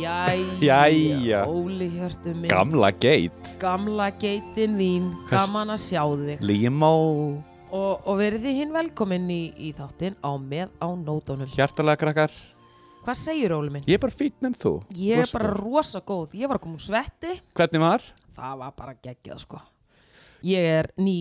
Jæja, Jæja. Óli hjörtu minn Gamla geit Gamla geitin þín, Hvers- gaman að sjá þig Límó og, og verið þið hinn velkominn í, í þáttinn á með á nótunum Hjartalega krakkar Hvað segir Óli minn? Ég er bara fýtn en þú Ég er Rosa bara góð. rosa góð, ég var að koma úr svetti Hvernig var? Það var bara geggjað sko Ég er ný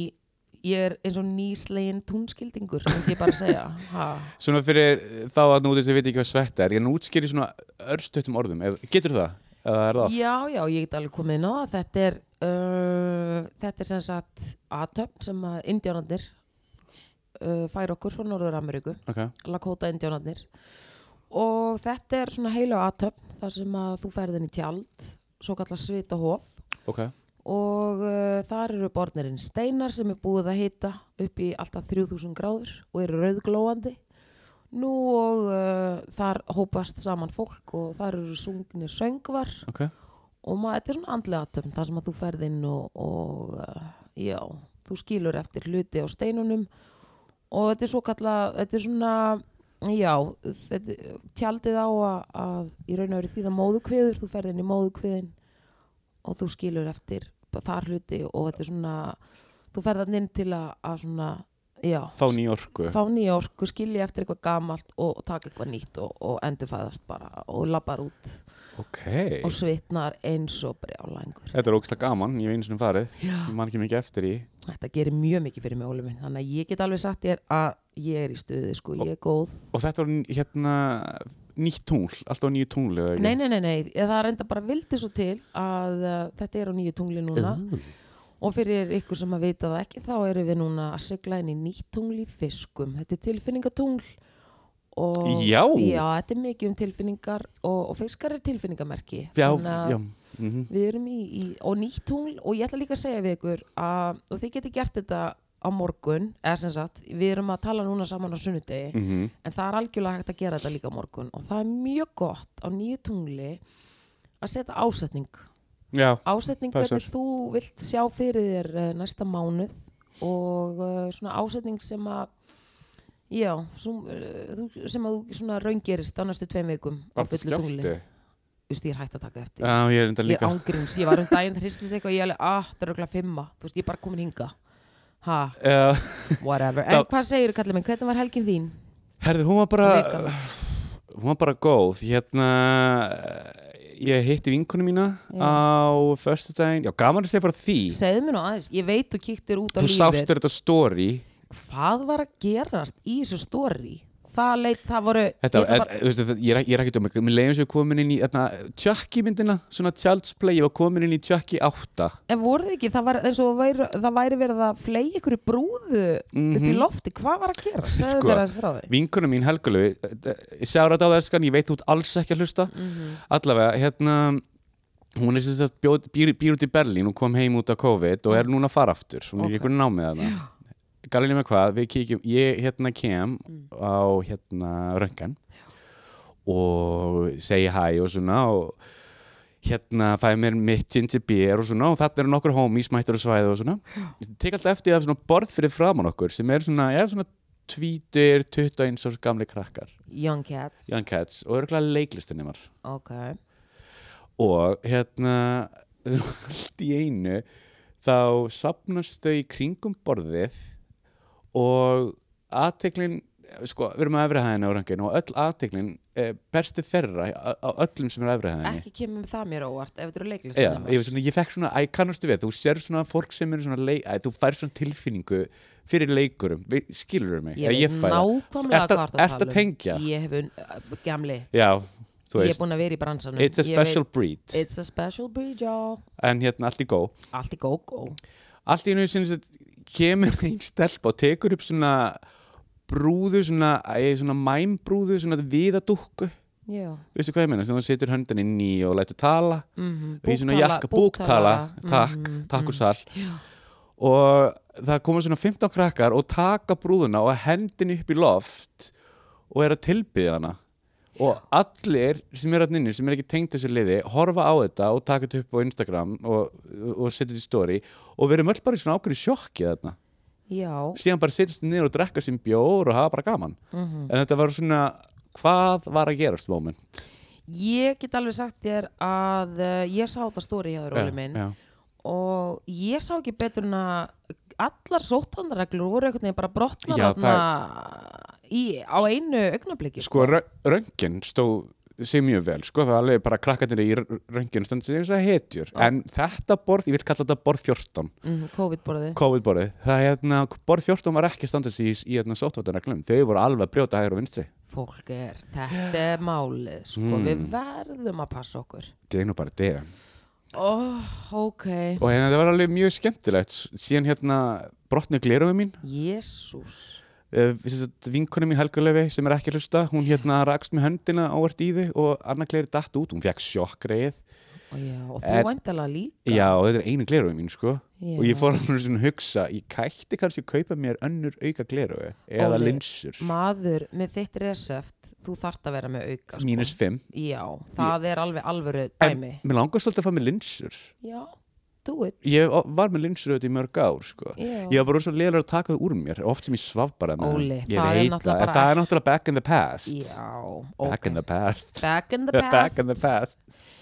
Ég er eins og nýslegin túnskildingur myndi ég bara að segja ha. Svona fyrir eh, þá að núti sem veit ekki hvað svett er Ég hann útskýri svona örstutum orðum Ef- Getur það? Eða er það? Já, já, ég get alveg komið inn á það Þetta er uh, Þetta er sem sagt aðtöfn sem að indjánandir uh, fær okkur frá Norður-Ameríku Ok Lakota indjánandir og þetta er svona heila aðtöfn þar sem að þú ferðin í tjald svo kallar svita Ok og uh, þar eru borðnirinn steinar sem er búið að hita upp í alltaf 3000 gráður og eru rauðglóandi nú og uh, þar hópast saman fólk og þar eru sungnir söngvar Ok og maður, þetta er svona andlega aðtöfn þar sem að þú ferð inn og, og uh, já, þú skilur eftir hluti á steinunum og þetta er svo kalla, þetta er svona já, þetta, tjaldið á að, að í raun og veru því það móðukviður, þú ferð inn í móðukviðin og þú skilur eftir bara þar hluti og þetta er svona þú ferð þarna inn til að, að svona já, Fá nýjorku fá nýja orku, skilja eftir eitthvað gamalt og taka eitthvað nýtt og, og endurfæðast bara og labbar út Ok og svitnar eins og brjálæðingur Þetta er ógstlega gaman Ég hef einu sinni farið Ég Já. man ekki mikið eftir í þetta gerir mjög mikið fyrir mig Óli minn þannig að ég get alveg sagt þér að ég er í stuði sko, ég er góð Og þetta var n- hérna Nýtt tungl Alltaf nýju tungl eða ekki nei, nei, nei, nei, Ég- það reynda bara vildi svo til að uh, þetta er á nýju tungli núna Uh-huh. og fyrir ykkur sem að vita það ekki þá erum við núna að sigla inn í nýtt tungli fiskum, þetta er tilfinningatungl og Já. þetta er mikið um tilfinningar og, og fiskar er tilfinningamerki Já, Þannig að- já mhm. Við erum í, í og nýtt tungl og ég ætla líka að segja við ykkur að, og þið geti gert þetta á morgun eða sem sagt, við erum að tala núna saman á sunnudegi, Mhm. en það er algjörlega hægt að gera þetta líka á morgun og það er mjög gott á nýju tungli að setja ásetning Já ásetning Passar. hvernig þú vilt sjá fyrir þér uh, næsta mánuð og uh, svona ásetning sem að já, sem, uh, þú- sem að þú svona raungerist á næstu tveim vikum á Var það fullu tungli, skjálfti? þú veist ég er hægt að taka eftir Já, ég er enda ég líka ángríns, ég var um daginn það hristist eitthvað, ég alveg, ah, það er okkur fimma þú veist, ég er bara komin hinga ha, Já whatever, en Það- hvað segir kallið minn, hvernig var helgin þín Herði, hún var bara Vikan. Hún var bara góð Hérna Ég hitti vinkonu mína Já. á Föstudaginn, já gaman að segja frá því segðu mér nú aðeins, ég veit þú kíktir út á Þú lífið, sástur þetta story hvað var að gerast í þessu stóri það leit, það voru Þetta, ég, ætla ég, bara... þetta, ég, er, ég er ekki dóma Mér leiðum sem ég komin inn í þarna, Chucky myndina, svona Child's Play Ég var komin inn í Chucky 8 en voru þið ekki, það var eins og væri, það væri verið að flegi ykkur brúðu upp í Mhm. lofti, hvað var að gera segðu Sko, mér aðeins frá því Vinkonu mín eh, Helgulegu Ég sjá þetta á það elskan, ég veit þú ert alls ekki að hlusta Allavega, hérna Hún er sem sagt bjóð, býr, býr út í Berlín Hún kom heim út af COVID og er núna að fara aftur Hún er Ok. í einhvern námið þarna Galinu með hvað, við kíkjum, ég hérna kem á hérna röngan og segi hæ og svona og hérna fæ mér mitt tinti bér og svona og þarna eru nokkur homies mættur og svæði og svona ég tek alltaf eftir að svona borð fyrir framann okkur sem er svona, ég er svona tvítur, 21 árs gamli krakkar Young Cats, Young Cats og örgulega leiklistinimar ok og hérna allt í einu þá sapnast þau í kringum borðið og aðteklin sko, við erum á efri hæðinni á rangin og öll aðteklin eh, bersti þeirra á á öllum sem er á efri hæðinni ekki kemur það mér á óvart ef þetta eru leiklist Já, ég, var svona, ég fekk svona, æ, kannastu við þú sér svona fólk sem er svona leik, æ, þú fær svona tilfinningu fyrir leikurum við, skilur mig, ég, Eða ég fæ það. nákvæmlega Ertu að- hvað það ertu að tengja? um. ég hef un, uh, gamli, já, þú ég er veist, búin að vera í bransanum it's a Ég special veit, breed it's a special breed y'all en hérna allt í góð allt í gógó allt í einu sem sagt, kemur einn stelp og tekur upp svona brúðu, svona, æ, svona mæmbrúðu, svona viðadúkku já veistu hvað ég meina, sem þú setur höndin inn í og lætur tala Mhm. í svona Búktala- jakka, búktala, búktala. takk, Mhm, takk úr sall Já. og það koma svona 15 krakkar og taka brúðuna og hendin upp í loft og er að tilbyða hana og allir sem er allir inni sem er ekki tengt þessu liði horfa á þetta og taka þetta upp á Instagram og, og setja þetta í story og við erum öll bara í svona ákveðinu sjokki þarna já, mhm. síðan bara setjast niður og drekka sín bjór og hafa bara gaman Mm. en þetta var svona hvað var að gerast moment ég get alveg sagt þér að uh, ég sá þetta stóri hjá þér, Óli minn já, og ég sá ekki betur en að allar sóttanreglur voru einhvern veginn bara brotna Já, þarna í, á einu augnabliki sko röngin stóð sig mjög vel, sko, það var alveg bara krakkarnir í röngin standi sig eins og hetjur en þetta borð, ég vil kalla þetta borð 14 mm, COVID-borðið COVID-borðið, það hérna, borð 14 var ekki standað sig í, í hérna sóttvartanreglum, þau voru alveg að brjóta hægur og vinstri. fólk er, þetta er málið sko, Hmm. við verðum að passa okkur Þetta er nú bara dega. oh, ok, Og hérna, það var alveg mjög skemmtilegt, síðan hérna brotnu gleruðu mín, jésús uh, vinkunum mín Helgulefi sem er ekki að hlusta, hún hérna rakst með höndina ávert í þau og annar gleri datt út, hún fekk sjokkreið. og, já, og þú En- væntalega líka Já, og þetta er einu gleruðu mín, sko. Já. Og ég fór hann svona að hugsa, ég kætti kannski að kaupa mér önnur auka gleruðu eða Óli, linsur. maður með þitt recept þú þart að vera með auka sko. Mínus 5. já, það er alveg alvöru En dæmi mér langar svolítið að fá mér linsur. já, do it ég var með linsur auðvitað í mörg ár sko. Já. ég var bara svo leilar að taka það úr mér oft sem ég svaf bara með Óli, það. ég það er veit náttúrulega það, en bara það er náttúrulega back in the past já, back ok in the past back in the past, back in the past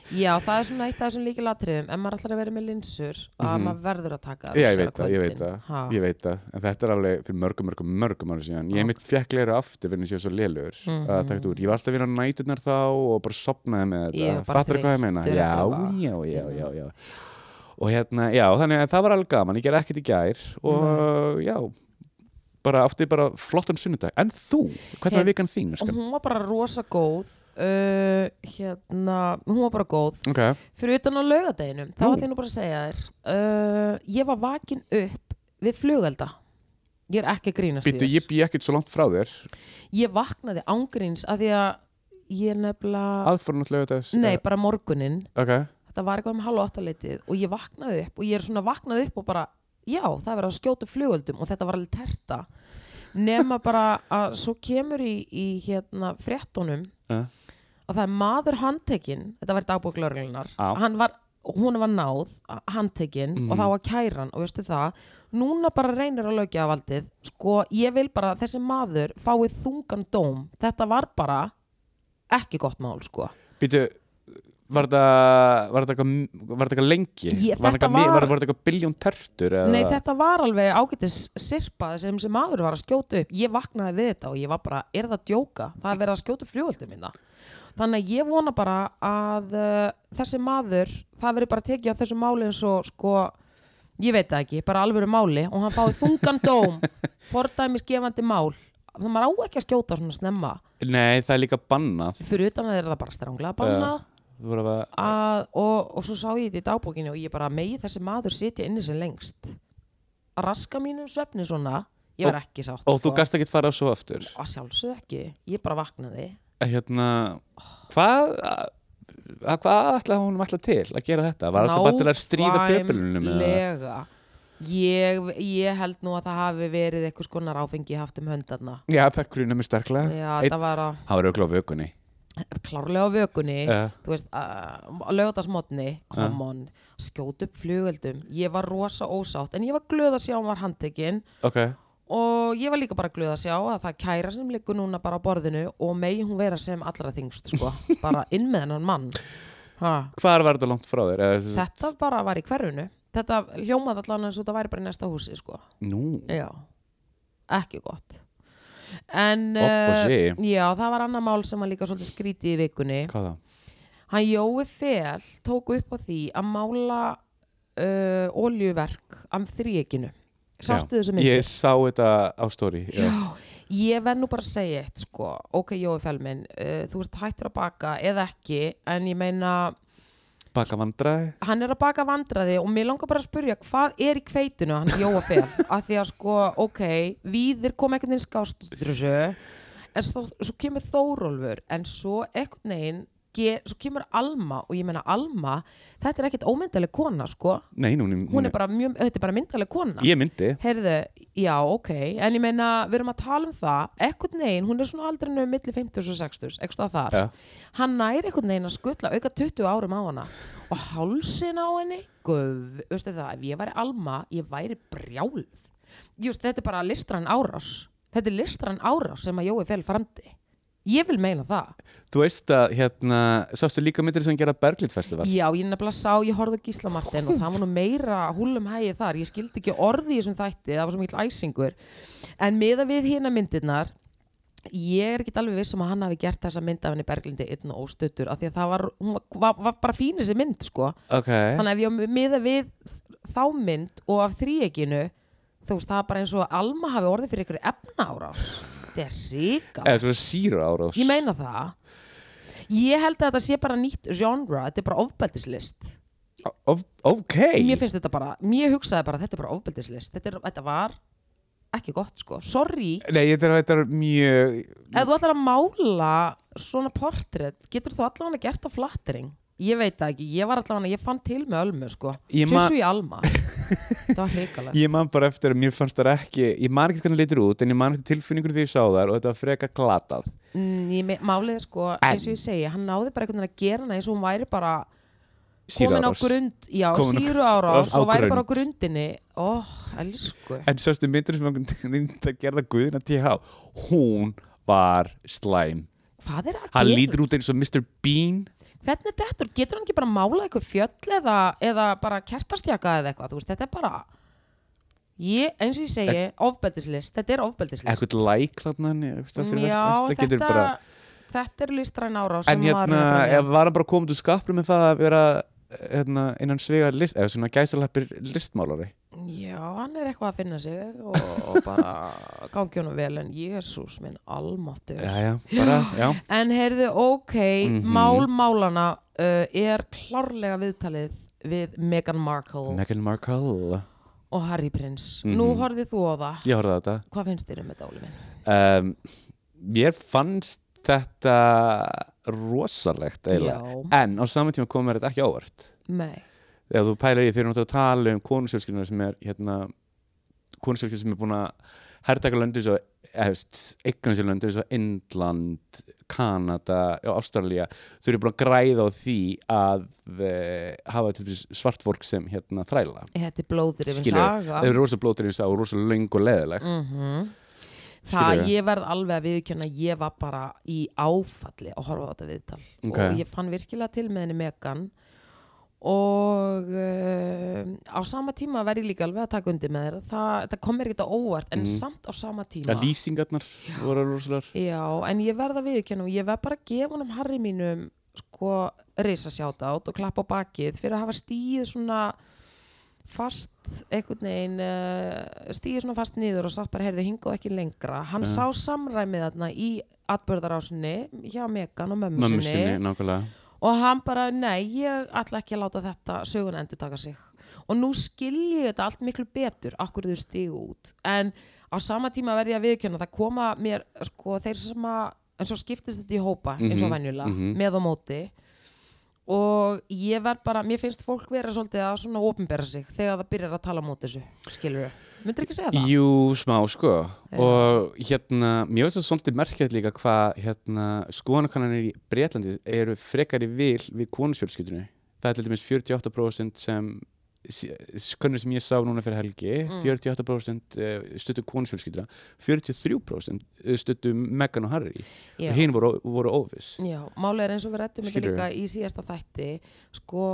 já, það er svona eitt af þessum líki latriðum ef maður ætlar að vera með linsur að maður verður að taka Mhm. Já, ég veit það, ég veit það, ég veit það, en þetta er alveg fyrir mörgum, mörgum, mörgum ára síðan. Ég mitt fekk leiru aftur fyrir að ég var svo lélugur að taka þetta úr. Ég var alltaf að vinna á næturnar þá og bara sopnaði Ég með þetta. var bara Fattar hvað ég meina? þreyttur eftir að Já, vakna. já, já, já, já. Og hérna, já, þannig að það var alveg gaman, ég gerði ekkert í gær og Mhm. já, bara átti bara flottan sunnudag. En þú, hvernig var Hey. vikan þín, og skan? hún var bara rosa góð uh, hérna, hún var bara góð Ok, fyrir utan á laugadeginum, þá Nú. ætlum ég nú bara að segja þér uh, ég var vakin upp við flugelda ég er ekki að grínast í býttu, þér. ég bý ekkert svo langt frá þér, ég vaknaði ángríns af því að ég nefnilega aðfórnatlega þess. nei, bara morguninn Ok, þetta var eitthvað um halv og áttaleitið og ég vaknaði upp og ég er svona vaknaði upp og bara já, það er verið að skjóta upp flugöldum og þetta var alveg terta nema bara að svo kemur í, í hérna fréttunum Ja. að það er maður handtekinn þetta var í dagbóklörglunar Já. Mm. hann var, hún var náð a- handtekinn og það var kæran og veistu það núna bara reynir að lögja af aldið sko, ég vil bara að þessi maður fáið þungan dóm, þetta var bara ekki gott mál sko Býtu, var þetta var þetta eitthvað- var þetta eitthvað lengi? Ég- þetta var, eitthvað, var... var- Var, var þetta eitthvað biljón tertur? Eða? Nei, þetta var alveg ágætis sirpa sem sem maður var að skjóta upp. Ég vaknaði við þetta og ég var bara, er það að djóka? Það er verið að skjóta upp fljóöldum minna. Þannig að ég vona bara að uh, þessi maður, það verið bara tekið af þessu máli eins og sko, ég veit það ekki, bara alvöru máli og hann fáið þungan dóm, fordæmisgefandi mál. Þannig að maður á ekki að skjóta svona snemma. Nei, það er líka bannað. Fyrir utan að er það bara stranglega bannað Þú voru að... að, og, og svo sá ég þetta í dagbókinu og ég bara megi þessi maður sitja inni sem lengst að raska mínum svefni svona ég var ekki sátt sko. Og þú gast ekki fara svo aftur. að sjálfsög ekki, ég bara vaknaði Hérna, hvað... að- Hvað ætlaði hún ætla til að gera þetta? Var þetta bara til að stríða pepilunum? Nákvæmlega. eða? ég, ég held nú að það hafi verið eitthvað skonar áfengi haft um höndarna Já, það gruna mér sterklega. Já, Eh, Einn- það var að Það var auðvitað á vökunni. Eh, klárlega á vökunni Já. þú veist, að lögðasmotni Eh. come on, skjót upp flugöldum ég var rosa ósátt en ég var glöð að sjá hann var handtekinn Ok. og ég var líka bara glöð að sjá að það kæra sem liggur núna bara á borðinu og megi hún vera sem allra þingst sko. bara inn með hennan mann ha. Hvar var þetta langt frá þér? Eða, sem sagt- þetta bara var í hverfinu þetta hljómaði allan eins og þetta væri bara í næsta húsi sko. Nú, já, ekki gott en Opp og eh, sí. já, það var annað mál sem var líka svolítið skrítið í vikunni hvað það? hann Jói Fel tók upp á því að mála uh, oljuverk af þríekinu sástu Já. þessu myndi? Ég sá þetta á stóri. Já. Ég verð nú bara að segja eitt sko, ok Jói Felmin, uh, þú ert hættur að baka eða ekki, en ég meina Baka vandræði. hann er að baka vandraði og mér langar bara að spurja hvað er í kveitinu hann Jói Fel af því að sko, ok, víðir kom einhvern veginn skást út úr þessu en svo, svo kemur Þórólfur en svo einhvern veginn ge, svo kemur Alma og ég meina Alma, þetta er ekkert ómyndaleg kona sko, Nei, hún, hún, hún er bara mjög, þetta er bara myndaleg kona Ég myndi Heyrðu, já, ok, en ég meina, við erum að tala um það, ekkert neginn, hún er svona aldrinu milli 50 og 60, ekkert að þar. Já. Hann næri ekkert neginn að skutla auka 20 árum á hana og hálsin á henni, guð, veistu það, ef ég væri alma, ég væri brjálð. Just, þetta er bara listrann árás, þetta er listrann árás sem að Jói fel framdi. Ég vil meina það. Þú veist að hérna Sástu líka myndir sem gera Berglind festival Já, ég nefnilega sá, ég horfði á Gísla Martin og það var nú meira húlum hægið þar ég skildi ekki orði í þessum þætti, það var svo mikill æsingur en meða við hérna myndirnar ég er ekki alveg viss um að hann hafi gert þessa mynd af henni Berglindi einn og óstuttur af því að það var, hún var, var, var bara fín þessi mynd sko, Ok þannig að ef ég meða við þá mynd og af þríeginu þú veist, það er bara eins og að Alma hafi orðið fyrir ykkur efnárás þetta er ríka Eða svo síra árás Ég meina það Ég held að þetta sé bara nýtt genre Þetta er bara ofbeldislist of, Ok Mér finnst þetta bara, mér hugsaði bara Þetta er bara ofbeldislist Þetta, er, þetta var ekki gott sko Sorry, Nei, þetta er, þetta er mjög ef þú ætlar að mála svona portrétt Getur þú allavega gert á flattering? Ég veit það ekki, ég var allavega, ég fann til með ölmu sko Ég ma- Sjössu í alma Þetta var hrikalegt Ég man bara eftir að mér fannst það ekki Ég man ekki hvernig litur út En ég man eftir tilfinningur því ég sá þar Og þetta var frekar glatað Mm, ég me- Málið er sko, eins og ég segi Hann náði bara einhvern veginn að gera hana eins og hún væri bara komin á Sýruárás. grund, já, Komin á- síru árás á og væri grund. bara á grundinni ó, elsku En sástu myndir sem hann reyndi að gerða Guðina TH Hún var slæm hvað er að Hann gera? lítur út eins og Mr. Bean hvernig dettur, getur hann ekki bara mála einhver fjöll eða, eða bara kertastjaka eða eitthvað, þú veist, þetta er bara ég, eins og ég segi, ofbeldislist þetta er ofbeldislist Ekkert læk þarna Mm, Já, já, getur þetta, bara þetta er listræn árás En sem var hérna, raunar- ef var hann bara komið úr skapnum með það að vera hérna, innan svega list, eða svona gæsalappir listmálari Já, hann er eitthvað að finna sig og, og bara gangi honum vel en Jésús minn almáttur Já, já, bara, já En heyrðu, ok, Mhm. mál málana uh, er klárlega viðtalið við Meghan Markle Meghan Markle og Harry Prince. Mhm. Nú horfið þú á það. Ég horfði á þetta Hvað finnst þér um þetta, Óli minn? um, Mér fannst þetta rosalegt eiginlega Já, En á saman tíma kom mér þetta ekki ávart nei. Þegar þú pælar í þeir eru náttúrulega að tala um konusjölskyldunar sem er hérna, konusjölskyldunar sem er búin að herrtaka löndu svo eignan sér löndu svo Indland, Kanada og Ástralía, þau eru búin að græða á því að e, hafa til dæmis svart fólk sem hérna þræla Þetta er blóður yfir Skilurðu, saga. þau eru rosa blótur eins og rosa löng og leðileg Mhm. Skilurðu? Það ég verð alveg að viðkjöna ég var bara í áfalli að horfa á þetta viðtal Ok. og ég fann virkilega til með henni Megan og uh, á sama tíma verð ég líka alveg að taka undir með þér það, það kom mér ekkert á óvart en Mhm. samt á sama tíma að lýsingarnar voru rosalar Já, en ég verða viðkjöna og ég verð bara að gefa honum Harry mínum sko reysa sjátátt og klappa á bakið fyrir að hafa stíð svona fast einhvern veginn uh, stíð svona fast niður og satt bara heyrðu hingað ekki lengra hann Ja. sá samræmið þarna í atbörðarásinni hjá Megan og mömmu mömmu sinni sinni, nákvæmlega og hann bara nei, ég ætla ekki að láta þetta söguna endur taka sig og nú skil ég þetta allt miklu betur akkur þau stigu út en á sama tíma verði ég að viðkjöna það koma mér, sko, þeir sem að en svo skiptist þetta í hópa, eins og Mhm, venjulega mhm. með og móti og ég verð bara, mér finnst fólk vera svolítið að svona opinbera sig þegar það byrjar að tala á móti þessu, skilur þau myndir ekki segja það? Jú, smá sko og hérna, mér finnst það svolítið merkjætt líka hvað hérna, skoðanakannanir í Breitlandi eru frekar í vil við konusjölskyldunni það er til dæmis 48% sem skönnur sem ég sá núna fyrir helgi Mm. 48% eh, stuttu konusjölskylduna 43% eh, stuttu Megan og Harry Já. og hinn voru, voru óvis Já, málið er eins og við rættum þetta Skilurðu? líka í síðasta þætti sko,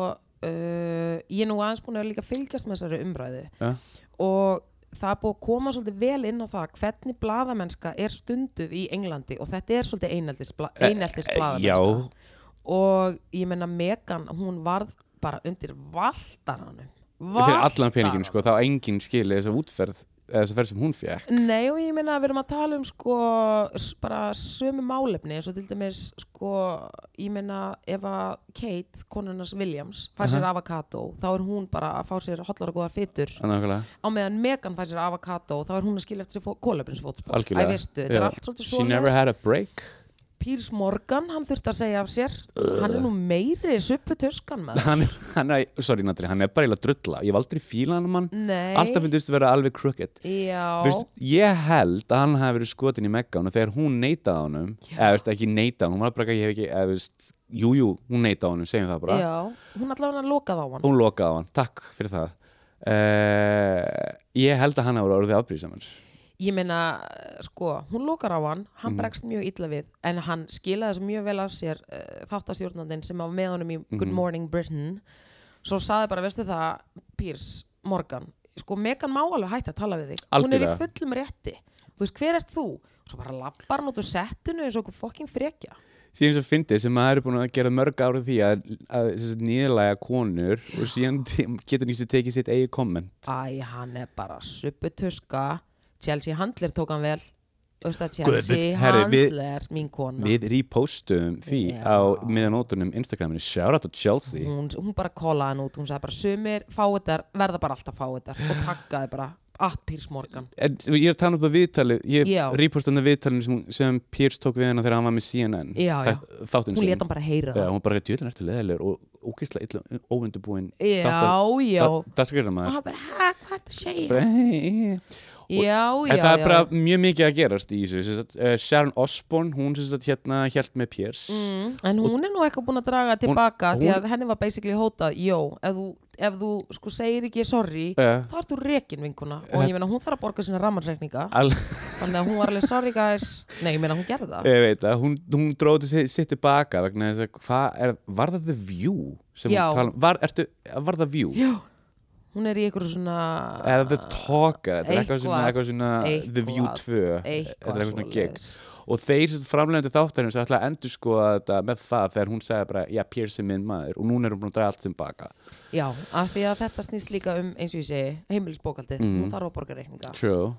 uh, ég er nú aðeins búin að líka fylgjast með þessari umræðu Ja. og það er búið að koma svolítið vel inn á það hvernig bladamennska er stunduð í Englandi og þetta er svolítið eineltis, bla, Eh, eineltis eh, já. bladamennska og ég menna Megan, hún varð bara undir valdaranum fyrir allan peningin sko, þá enginn skili þessa útferð eða þessa ferð sem hún fekk Nei og ég meina að við erum að tala um sko s- bara sömu málefni eins og til dæmis sko ég meina ef að Kate, konunars Williams fær sér avokado þá er hún bara að fá sér hotlar og góðar fytur Nákvæmlega. á meðan Megan fær sér avokado þá er hún að skilja eftir sér kólöfninsfótspor Algjörlega. Æ veistu, þetta er Já. allt svolítið She never svoleiðis had a break Pírs Morgan, hann þurfti að segja af sér hann er nú meiri supputuskan maður hann, er- hann er, sorry Natri, hann er bara eiginlega drulla ég hef aldrei fílað hann mann Nei, alltaf finnst þú vera alveg crooked já Fyrst, ég held að hann hafi verið skotin í Meggan og þegar hún neitaði honum eða veist, ekki neitaði, honum, hún var bara ekki, ég hef ekki eða, veist, jú, jú, hún neitaði honum, segjum það bara Já, hún allavega hann lokaði á hann hún lokaði á hann, takk fyrir það uh, ég held að hann hafi orðið afbrýðsamans Ég meina, eh, sko, hún lokar á hann Mhm. hann bregst mjög illa við en hann skilaði þessu mjög vel af sér uh, þáttastjórnandinn sem var með honum í Mhm. Good Morning Britain svo saði bara, veistu það, Pírs Morgan, sko, Megan má alveg hægt að tala við þig hún er í Algjörlega. fullum rétti þú veist, hver ert þú? Svo bara lappar hann út úr settinu eins og okkur fokkin frekja síðan sem fyndið sem maður er búin að gera mörg árið því að, að nýðlega konur og síðan te- getur nýstu tekið sitt eigi komment Æ, hann er bara supputuska Chelsea Handler tók hann vel Þú veist að Chelsea Guð, herri, við- Handler, mín kona við repostum því Já. Mhm. á miðanótunum Instagraminu, shout out to Chelsea hún, hún bara kólaði hann út, hún sagði bara sumir fáiðar, verða bara alltaf fáiðar og takkaði bara at Piers Morgan en ég er að tala um það viðtalið ég Já. repostum það viðtalið sem, sem Pierce tók við hana þegar hann var með CNN Já, já. Þætt- þáttinn hún sinn. leta hann bara heyra Já, það hún bara djöðlega eftir leðilegur og ógeðslega illa óundubúin já, já, dagsakræðan og maður hann bara, hæ, hvað er það að segja Bara, "Hey." já, já, en það er já, bara mjög mikið að gerast í þessu sem sagt, eh, Sharon Osbourne, hún sem sagt hérna hjælt með Pierce Mm, en hún er nú eitthvað búin að draga tilbaka því hún- að henni var basically hótað, jó, ef þú, ef þú sko segir ekki sorry Eh. þá ert þú rekin vinkuna og ég meina hún þarf að borga sína rammarsreikninga Al, þannig að hún var alveg sorry guys nei, ég meina hún gerði það ég veit að hún, hún dróði sitt, sitt tilbaka vegna þess að hvað er, var það The View sem Já. hún tala um, var, ertu, var það View já, hún er í einhverju svona eða The Talker, þetta er eitthvað svona, eitthvað, eitthvað svona The View eitthvað, 2 þetta eitthvað er eitthvað svona gig svoleiðis. og þeir framlegandi þáttarins ætla að endur sko þetta með það þegar hún segja bara, já Pierce er minn maður og núna er hún búin að draga allt sem baka Já, af því að þetta snýst líka um, eins og ég segi, heimilisbókaldið, hún þarf að borga reikninga. True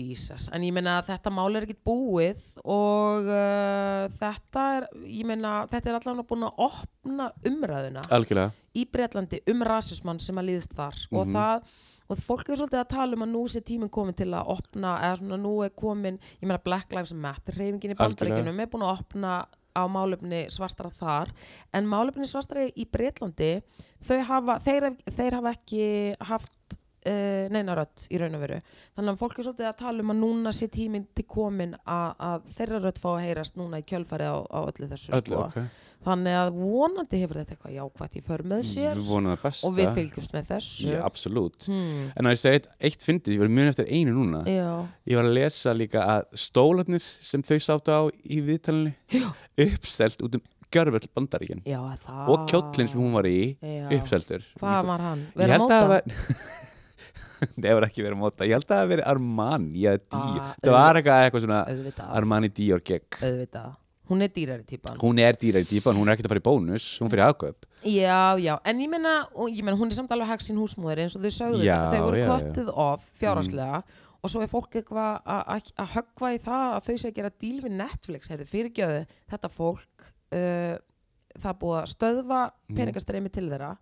Jesus, en ég meina að þetta mál er ekkit búið og uh, þetta er, ég meina, þetta er allavega búin að opna umræðuna Algjörlega í Breitlandi um rasismann sem að líðist þar og Mhm. það, og fólk er svolítið að tala um að nú sé tíminn komin til að opna eða svona nú er komin, ég meina Black Lives Matter reyfingin í Algjörlega. bandaríkunum er búin að opna á málefni svartara þar en málefni svartara í Breitlandi þau hafa, þeir, þeir hafa ekki haft uh, neina rödd í raun og veru þannig að fólk er svolítið að tala um að núna sé tíminn til komin að, að þeirra rödd fá að heyrast núna í kjölfarið á, á öllu þessu sko. Öllu, ok þannig að vonandi hefur þetta eitthvað jákvætt í för með sér Við vonum Mm, það besta og við fylgjumst með þessu Já, absolutt hmm. En að ég segi eitt, eitt fyndið, ég var mjög eftir einu núna já, Ég var að lesa líka að stólarnir sem þau sáttu á í viðtalinni uppselt út um görvöld bandaríkin já er það og kjóllin sem hún var í Já. uppseltur hvað var hann? Ég Vera held að móta? það var Nei, það var ekki verið að móta Ég held að það hafi verið Armani eða Dior Ah, Það var eitthvað eitthvað svona auðvitað, Armani Dior gegg auðvitað hún er dýrari típan Hún er dýrar í típan, hún er ekkert að fara í bónus Hún fyrir aðkaup já, já, en ég meina, og ég meina hún er samt alveg hagsin húsmóður eins og þau sögðu Já, þetta, þau voru já, Mm. já. köttuð of fjárhanslega og svo er fólk eitthvað að- að að höggva í það að þau sé að gera díl við Netflix, heyrðu fyrirgjöðu þetta fólk uh, það er búið að stöðva Mm. peningastreimi til þeirra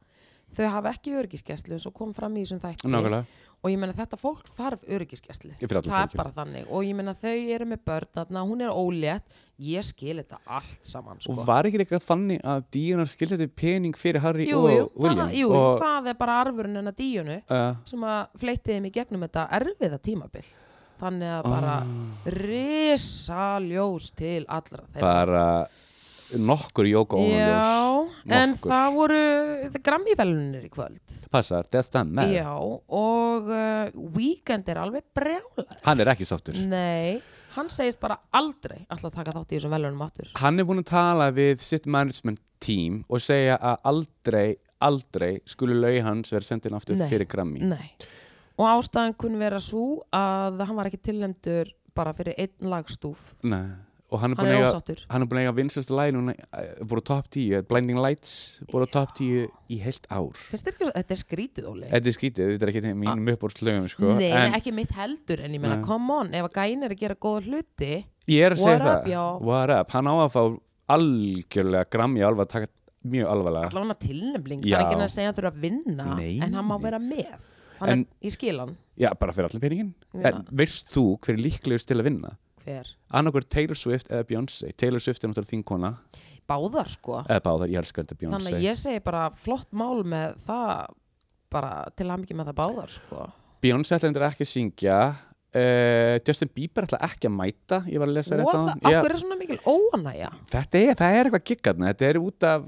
þau hafa ekki öryggiskeslu eins og kom fram í þessum þætti Nákvæmlega og ég meina þetta fólk þarf öryggiskeslu Ég fyrir það allar er bylgjur. bara þannig og ég meina þau eru með börn þarna, hún er ólétt ég skil þetta allt saman sko. Og var ekki eitthvað þannig að díunar skildi þetta pening fyrir Harry jú, og jú, William það, jú, og, það er bara arfurinn hennar díunu uh, sem að fleytti þeim í gegnum þetta erfiða tímabil þannig að bara Ah. risaljós til allra þeirra eh, bara nokkur jóka óhanljós Já, en Nokkur. það voru grammívelunir í kvöld Passar, það stemmar Já, og uh, Weekend er alveg brjálar Hann er ekki sáttur Mm. Nei, hann segist bara aldrei ætla að taka þátt í þessum velunum aftur Hann er búin að tala við sitt management team og segja að aldrei, aldrei skulu laugi hans vera sendin aftur Nei. fyrir Grammy Nei. Og ástæðan kunni vera svo að hann var ekki tilnæmdur bara fyrir einn lagstúf Nei. og hann er Mm. Hann búin að er eiga ósáttur. hann er búin að eiga vinsastu lægi núna eh, búin á top 10, Blinding Lights búin á top 10 í heilt ár Finnst þér ekki að þetta er skrítið, Óli? Þetta er skrítið, þetta er ekki mínum uppbórslögum Eh, sko. Ah. Nei, en ekki mitt heldur, en ég meina, come on, ef að gæn er að gera góða hluti ég er að segja What up, það já. What up, hann á að fá algjörlega Grammy alveg að taka mjög alvarlega allan að tilnæmling, Já. það er ekki að segja að þurfa að vinna Nei. en hann má vera með Þannig En- að ég skil hann Já, bara fyrir allir peningin Já. En veist þú hver er líklegust til að vinna? hver? annarkur Taylor Swift eða Beyoncé Taylor Swift er náttúrulega þinkona Báðar sko eða báðar, ég elskar þetta Beyoncé Þannig að ég segi bara flott mál með það bara til hamingju með það báðar sko Beyoncé ætlar endur ekki að syngja uh, Justin Bieber ætlar ekki að mæta ég var að lesa rétt á What the- Af hverju er svona mikil óanæja? þetta er, það er eitthvað giggarna þetta er út af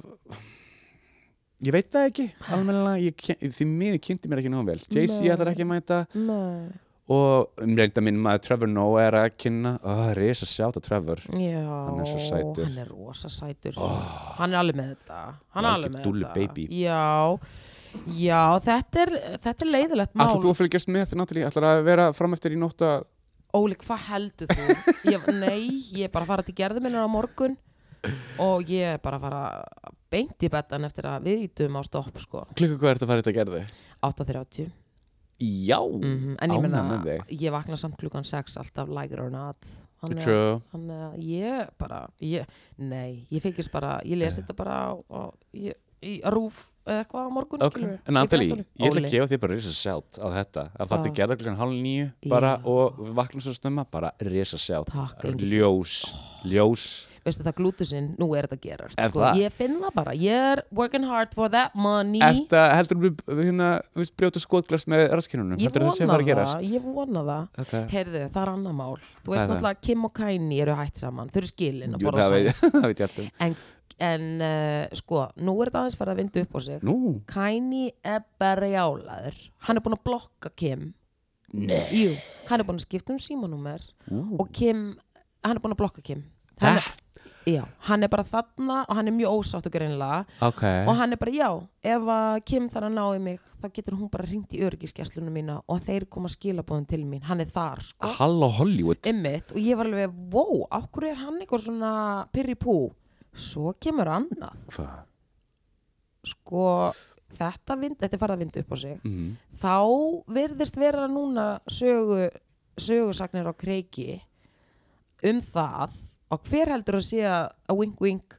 ég veit það ekki almenlega, ég, ken- því miður kynnti mér ekki nóg vel Jay-Z Nei. ætlar ekki að mæta Nei og um reynda minn maður Trevor Noah er að kynna oh, risa sjáta Trevor Já, Hann er svo sætur. hann er rosa sætur Hann er alveg með þetta Hann er Algjör alveg með dúllu þetta baby. Já, já þetta, er, þetta er leiðilegt mál ætlar þú að fylgjast með þetta náttúrulega ætlar að vera fram eftir í nótt að Óli, hvað heldur þú? Ég, nei, ég er bara að fara til gerðu minna á morgun og ég er bara að fara beint í betan eftir að við ítum á stopp sko, klukka hvað er þetta að fara þetta að gerði 8.30 já, mm en ég Ánægð meina, með þig. ég vakna samt klukkan 6 alltaf lægur og natt þannig að- true þannig að ég bara ég, nei, ég fylgist bara ég Eh. les þetta bara á, á, ég, í rúf eða eitthvað á morgun Ok, skilurðu, í en Natalie, fréttunum. ég ætla Óli. að gefa þér bara risa sjátt á þetta að fara til Hvað? gerða klukkan hálf nýju bara Já. og vakna svo snemma bara risa sjátt Takk, Engill. ljós, ljós veistu það glútusinn, nú er þetta gerast Er sko. það? ég finn það bara, ég er working hard for that money Þetta heldur við hérna, við brjóta skotglas með raskinnunum ég heldur það sé að fara að gerast ég vona það okay. Heyrðu, það er annað mál. Þú Hvað veist er það? náttúrulega að Kim og Kanye eru hætt saman. Þau eru skilin að Jú, borða það, saman. veit, það veit ég alltaf En, en uh, sko, nú er þetta aðeins farið að vinda upp á sig. Nú, Kanye er berjálaður. Hann er búinn að blokka Kim. Nei. Jú, hann er búinn að skipta um símanúmer ú, og Kim, hann er búinn að blokka Kim. Hann það er, já, hann er bara þarna og hann er mjög ósáttu greinlega Ok, og hann er bara já, ef að Kim þarf að ná í mig þá getur hún bara ringt í öryggiskesslunum mína og þeir koma skilabóðin til mín hann er þar sko Halló Hollywood Einmitt, og ég var alveg, wow, af hverju er hann eitthvað svona pirri pú? Svo kemur annað, Hvað? sko, þetta, vind, þetta er farið að vinda upp á sig. Mm. Þá virðist vera núna sögu, sögusagnir á kreiki um það og hver heldur að sé að að wink wink,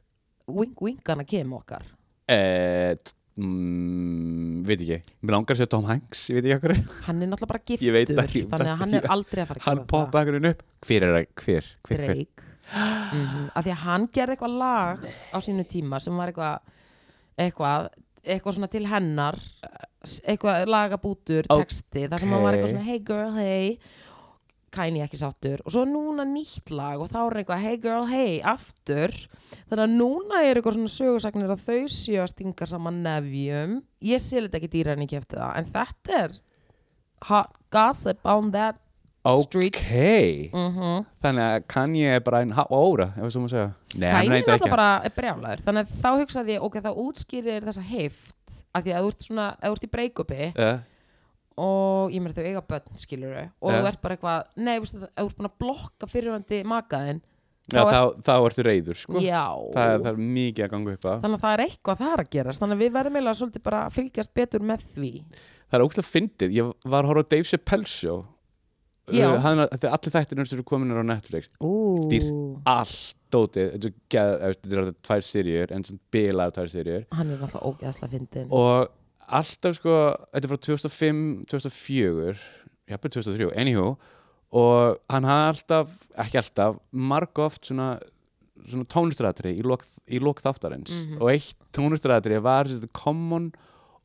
wink winkana kem okkar? Eh, t- mm, veit ekki Mér langar að sé Tom Hanks, ég veit ekki okkur Hann er náttúrulega bara Ég giftur, veit ekki, þannig að hann er aldrei að fara að Hann gera það. poppa ekkurinn upp Hver er það, hver, hver, hver Drake mm -hmm. af því að hann gerði eitthvað lag á sínu tíma sem var eitthvað eitthvað, eitthvað svona til hennar s- eitthvað lagabútur Ó- texti, þar sem hann var eitthvað ókei. svona hey girl, hey Kanye ekki sáttur og svo er núna nýtt lag og þá er eitthvað hey girl, hey aftur þannig að núna er eitthvað svona sögursagnir að þau séu að stinga saman nefjum ég sé þetta ekki dýra en ekki eftir það en þetta er hot gossip on that Street. Ok, mhm þannig að Kanye er bara einn há óra, ef við svo má segja Nei, hann Kanye er reyndar alltaf ekki bara brjálæður þannig að þá hugsaði ég, ok, þá útskýrir þessa heift af því að þú ert svona, að þú ert í breakupi Eh, og ég meina þau eiga börn, skilur þau og Ja. þú ert bara eitthvað, nei, veistu, það- ef þú ert búin að blokka fyrirvandi makaðinn Já, Þá er- þá, þá ertu reyður, sko já, Það, það er mikið að ganga upp á þannig að það er eitthvað þar að gerast þannig að við verðum eiginlega svolítið bara að fylgjast betur með því Það er ógæslega fyndið, ég var að horfa á Dave Chappelle show Já. Uh, hann, Þetta er allir þættirnir sem eru kominir á Netflix Ú, Allt dótið, þetta er geð- eh, þetta eru tvær sirjur, en sem bilaðar tvær sirjur hann er náttúrulega ógeðslega fyndin Og alltaf sko, þetta er frá 2005, 2004 Jafnir 2003, anywho Og hann hafði alltaf, ekki alltaf, marg oft svona svona tónlistaratri í lok, í lok þáttarins og eitt tónlistaratri var sem sagt, Common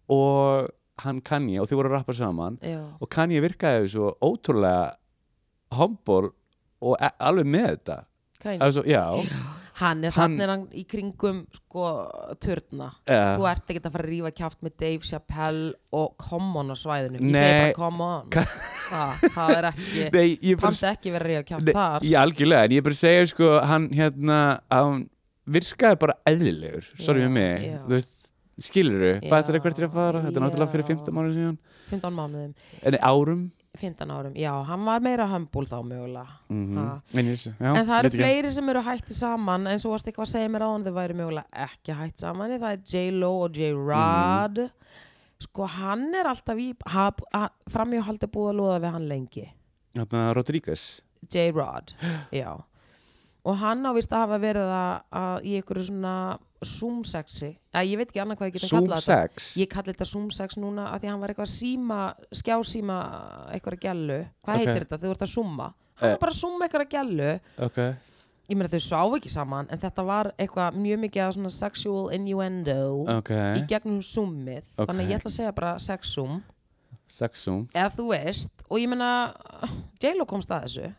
og hann Kanye og þau voru að rappa saman já, og Kanye virkaði svo ótrúlega humble og e alveg með þetta Kanye. Alveg svo, já, hann er Hann- þannig hann í kringum sko, törna uh, Þú ert ekki að fara að rífa kjáft með Dave Chappelle og Common á svæðinu. Ég Nei. segi bara Common. Það, það er ekki, nei, ég bara hann er ekki verið að rífa kjáft nei, þar. ég algjörlega, en ég bara segja sko, hann hérna hann virkaði bara eðlilegur sorry Já, með mig, já. þú veist skilur Já, þau, fættir eitthvað til að fara þetta er náttúrulega fyrir já. 15 mánuð síðan 15 mánuðum, en árum 15 árum. Já, hann var meira humble þá mögulega. Mhm. Ha. en, ég, já, En það veit eru ekki. fleiri sem eru hætti saman eins og varst eitthvað að segja mér á hann þau væri mögulega ekki hætti saman það er J-Lo og J-Rod Mm. sko hann er alltaf í framjóhaldi búið að loða við hann lengi Þarna Rodríguez J-Rod já. og hann ávist að hafa verið að, að í einhverju svona zoom-sexi að ég veit ekki annað hvað ég geta Zoom kallað þetta 6 ég kalli þetta zoom-sex núna að því að hann var eitthvað að síma skjásíma eitthvað gælu hvað Ok. heitir þetta þegar þú ert að zooma hann Eh. var bara að summa eitthvað að gælu ok ég meina þau sá ekki saman en þetta var eitthvað mjög mikið af svona sexual innuendo ok, í gegnum summið þannig að Ok. ég ætla að segja bara sexum sexum eða þú veist og ég meina J-Lo komst að þessu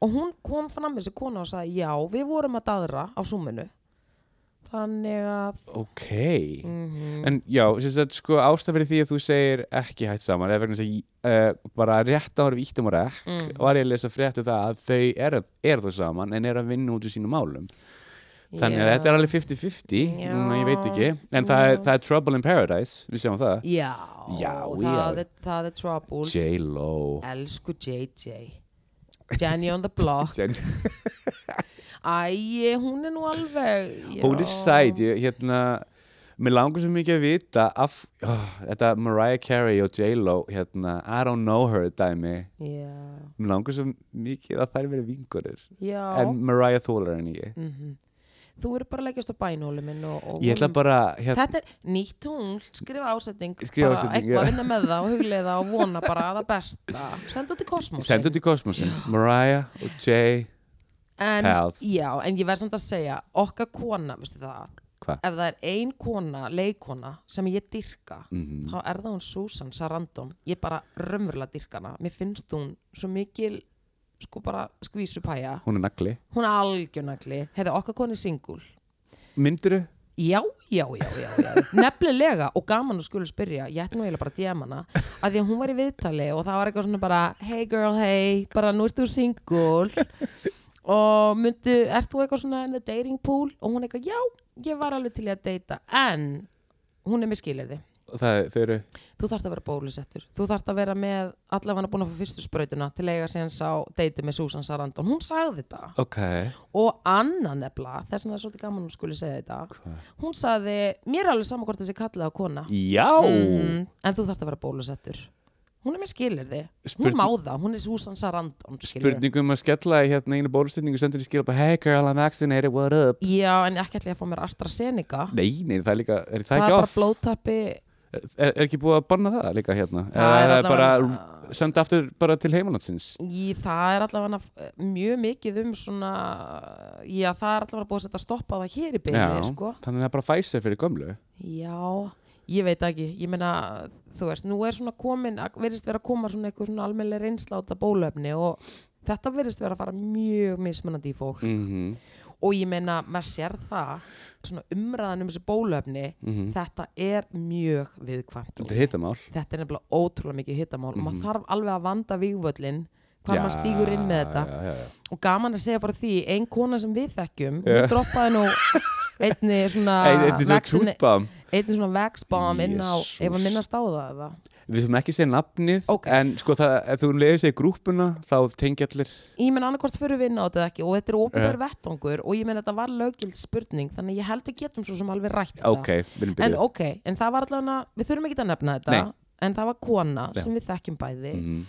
og hún kom fram með þessi kona og sagði já, við vorum að daðra á summinu þannig að ok mm en já, þess að sko ástæð fyrir því að þú segir ekki hætt saman er vegna þess að ég, uh, bara rétt ára við íttum og rekk Mm. var ég að lesa frétt um það að þau eru er þau saman en eru að vinna út í sínum málum þannig að Já. þetta er alveg 50-50 Já. núna ég veit ekki en það, er, Já. það er Trouble in Paradise, við sjáum það Já, Já, það, já. Er, það er trouble J-Lo Elsku JJ Jenny on the block Jen- Æ, hún er nú alveg já. Hún er sæt, ég, hérna Mér langar svo mikið að vita af, oh, Þetta Mariah Carey og J-Lo hérna, I don't know her dæmi Já, Mér langar svo mikið að þær verið vingurir já. En Mariah þólar en ég Mhm. Þú eru bara að leggjast á bænhóli minn og, og Ég ætla honum- bara hérna, Þetta er nýtt tungl, skrifa ásetning Skrifa bara ásetning, eitthvað já. að vinna með það og hugleiða og vona bara að það besta Senda út í kosmos Sendu til kosmosin Mariah og J en, Health. Já, en ég verð samt að segja okkar kona, veistu það Hva? ef það er ein kona, leikona sem ég dyrka Mhm. þá er það hún Susan Sarandon ég bara raunverulega dyrka hana mér finnst hún svo mikil sko bara skvísupæja Hún er nagli hún er algjörnagli, hefði okkar koni singul Mynduru? Já, já, já, já, já. nefnilega og gaman að skulu spyrja, ég ætti nú eiginlega bara að DM hana, að því að hún var í viðtali og það var eitthvað svona bara, hey girl, hey bara nú ert þú single og myndu, ert þú eitthvað svona in the dating pool og hún eitthvað, já, ég var alveg til í að deyta en hún er með skilirði, Það, þau eru þú þarft að vera bólusettur þú þarft að vera með allavega búin að fá fyrstu sprautuna til að eiga síðan sá deyti með Susan Sarandon, hún sagði þetta Ok og annan nefnilega, þess vegna er svolítið gaman að hún skuli segja þetta Hva? hún saði, mér er alveg saman hvort þessi kallið á kona Já Mhm, en þú þarft að vera bólusettur hún er með skilirði, Spurning- hún má það hún er Susan Sarandon skilurðu. Spurningum að skella í hérna einu bólustinningu sendur í skil bara Hey girl, I'm vaccinated, what up? já, en ekki ætla ég að fá mér AstraZeneca Nei, nei, það er líka, er það það ekki er bara off? blóðtappi Er, er ekki búið að banna það líka hérna? Það er Eða bara allavega- senda aftur bara til heimalandsins Í, það er allavega eh, mjög mikið um svona já, það er allavega búið að setja að stoppa það hér í byrni sko. þannig að það er bara Pfizer fyrir gömlu Já, ég veit það ekki, ég meina, þú veist, nú er svona komin, verðist vera að koma svona eitthvað svona almennlega reynsla á þetta bólöfni og þetta verðist vera að fara mjög mismunandi í fólk mm -hmm. og ég meina, maður sér það, svona umræðan um þessi bólöfni, þetta er mjög viðkvæmt. Mm. Þetta er hittamál Þetta er nefnilega ótrúlega mikið hittamál og maður þarf alveg að vanda vígvöllin hvað Já, maður stígur inn með þetta já, já, já. og gaman að segja bara því, ein kona sem við þekkjum, Já. hún droppaði nú einni svona, Ei, Þetta er svo Ah, vaccine- trútbam einnig svona vexbám inn á Jesús. ef að minnast á það eða Við þurfum ekki segja nafnið Ok. En sko það, ef þú leiðir segja grúpuna þá tengja allir ég menn annarkvort fyrir við inn á þetta eða ekki og þetta er ofinbær vettangur og ég menn þetta var löggild spurning þannig að ég held að getum svo sem alveg rætt þetta. Ok, við en erum byrjuð ok, en það var allavega við þurfum ekki að nefna þetta Nei. en það var kona Já. sem við þekkjum bæði Mhm.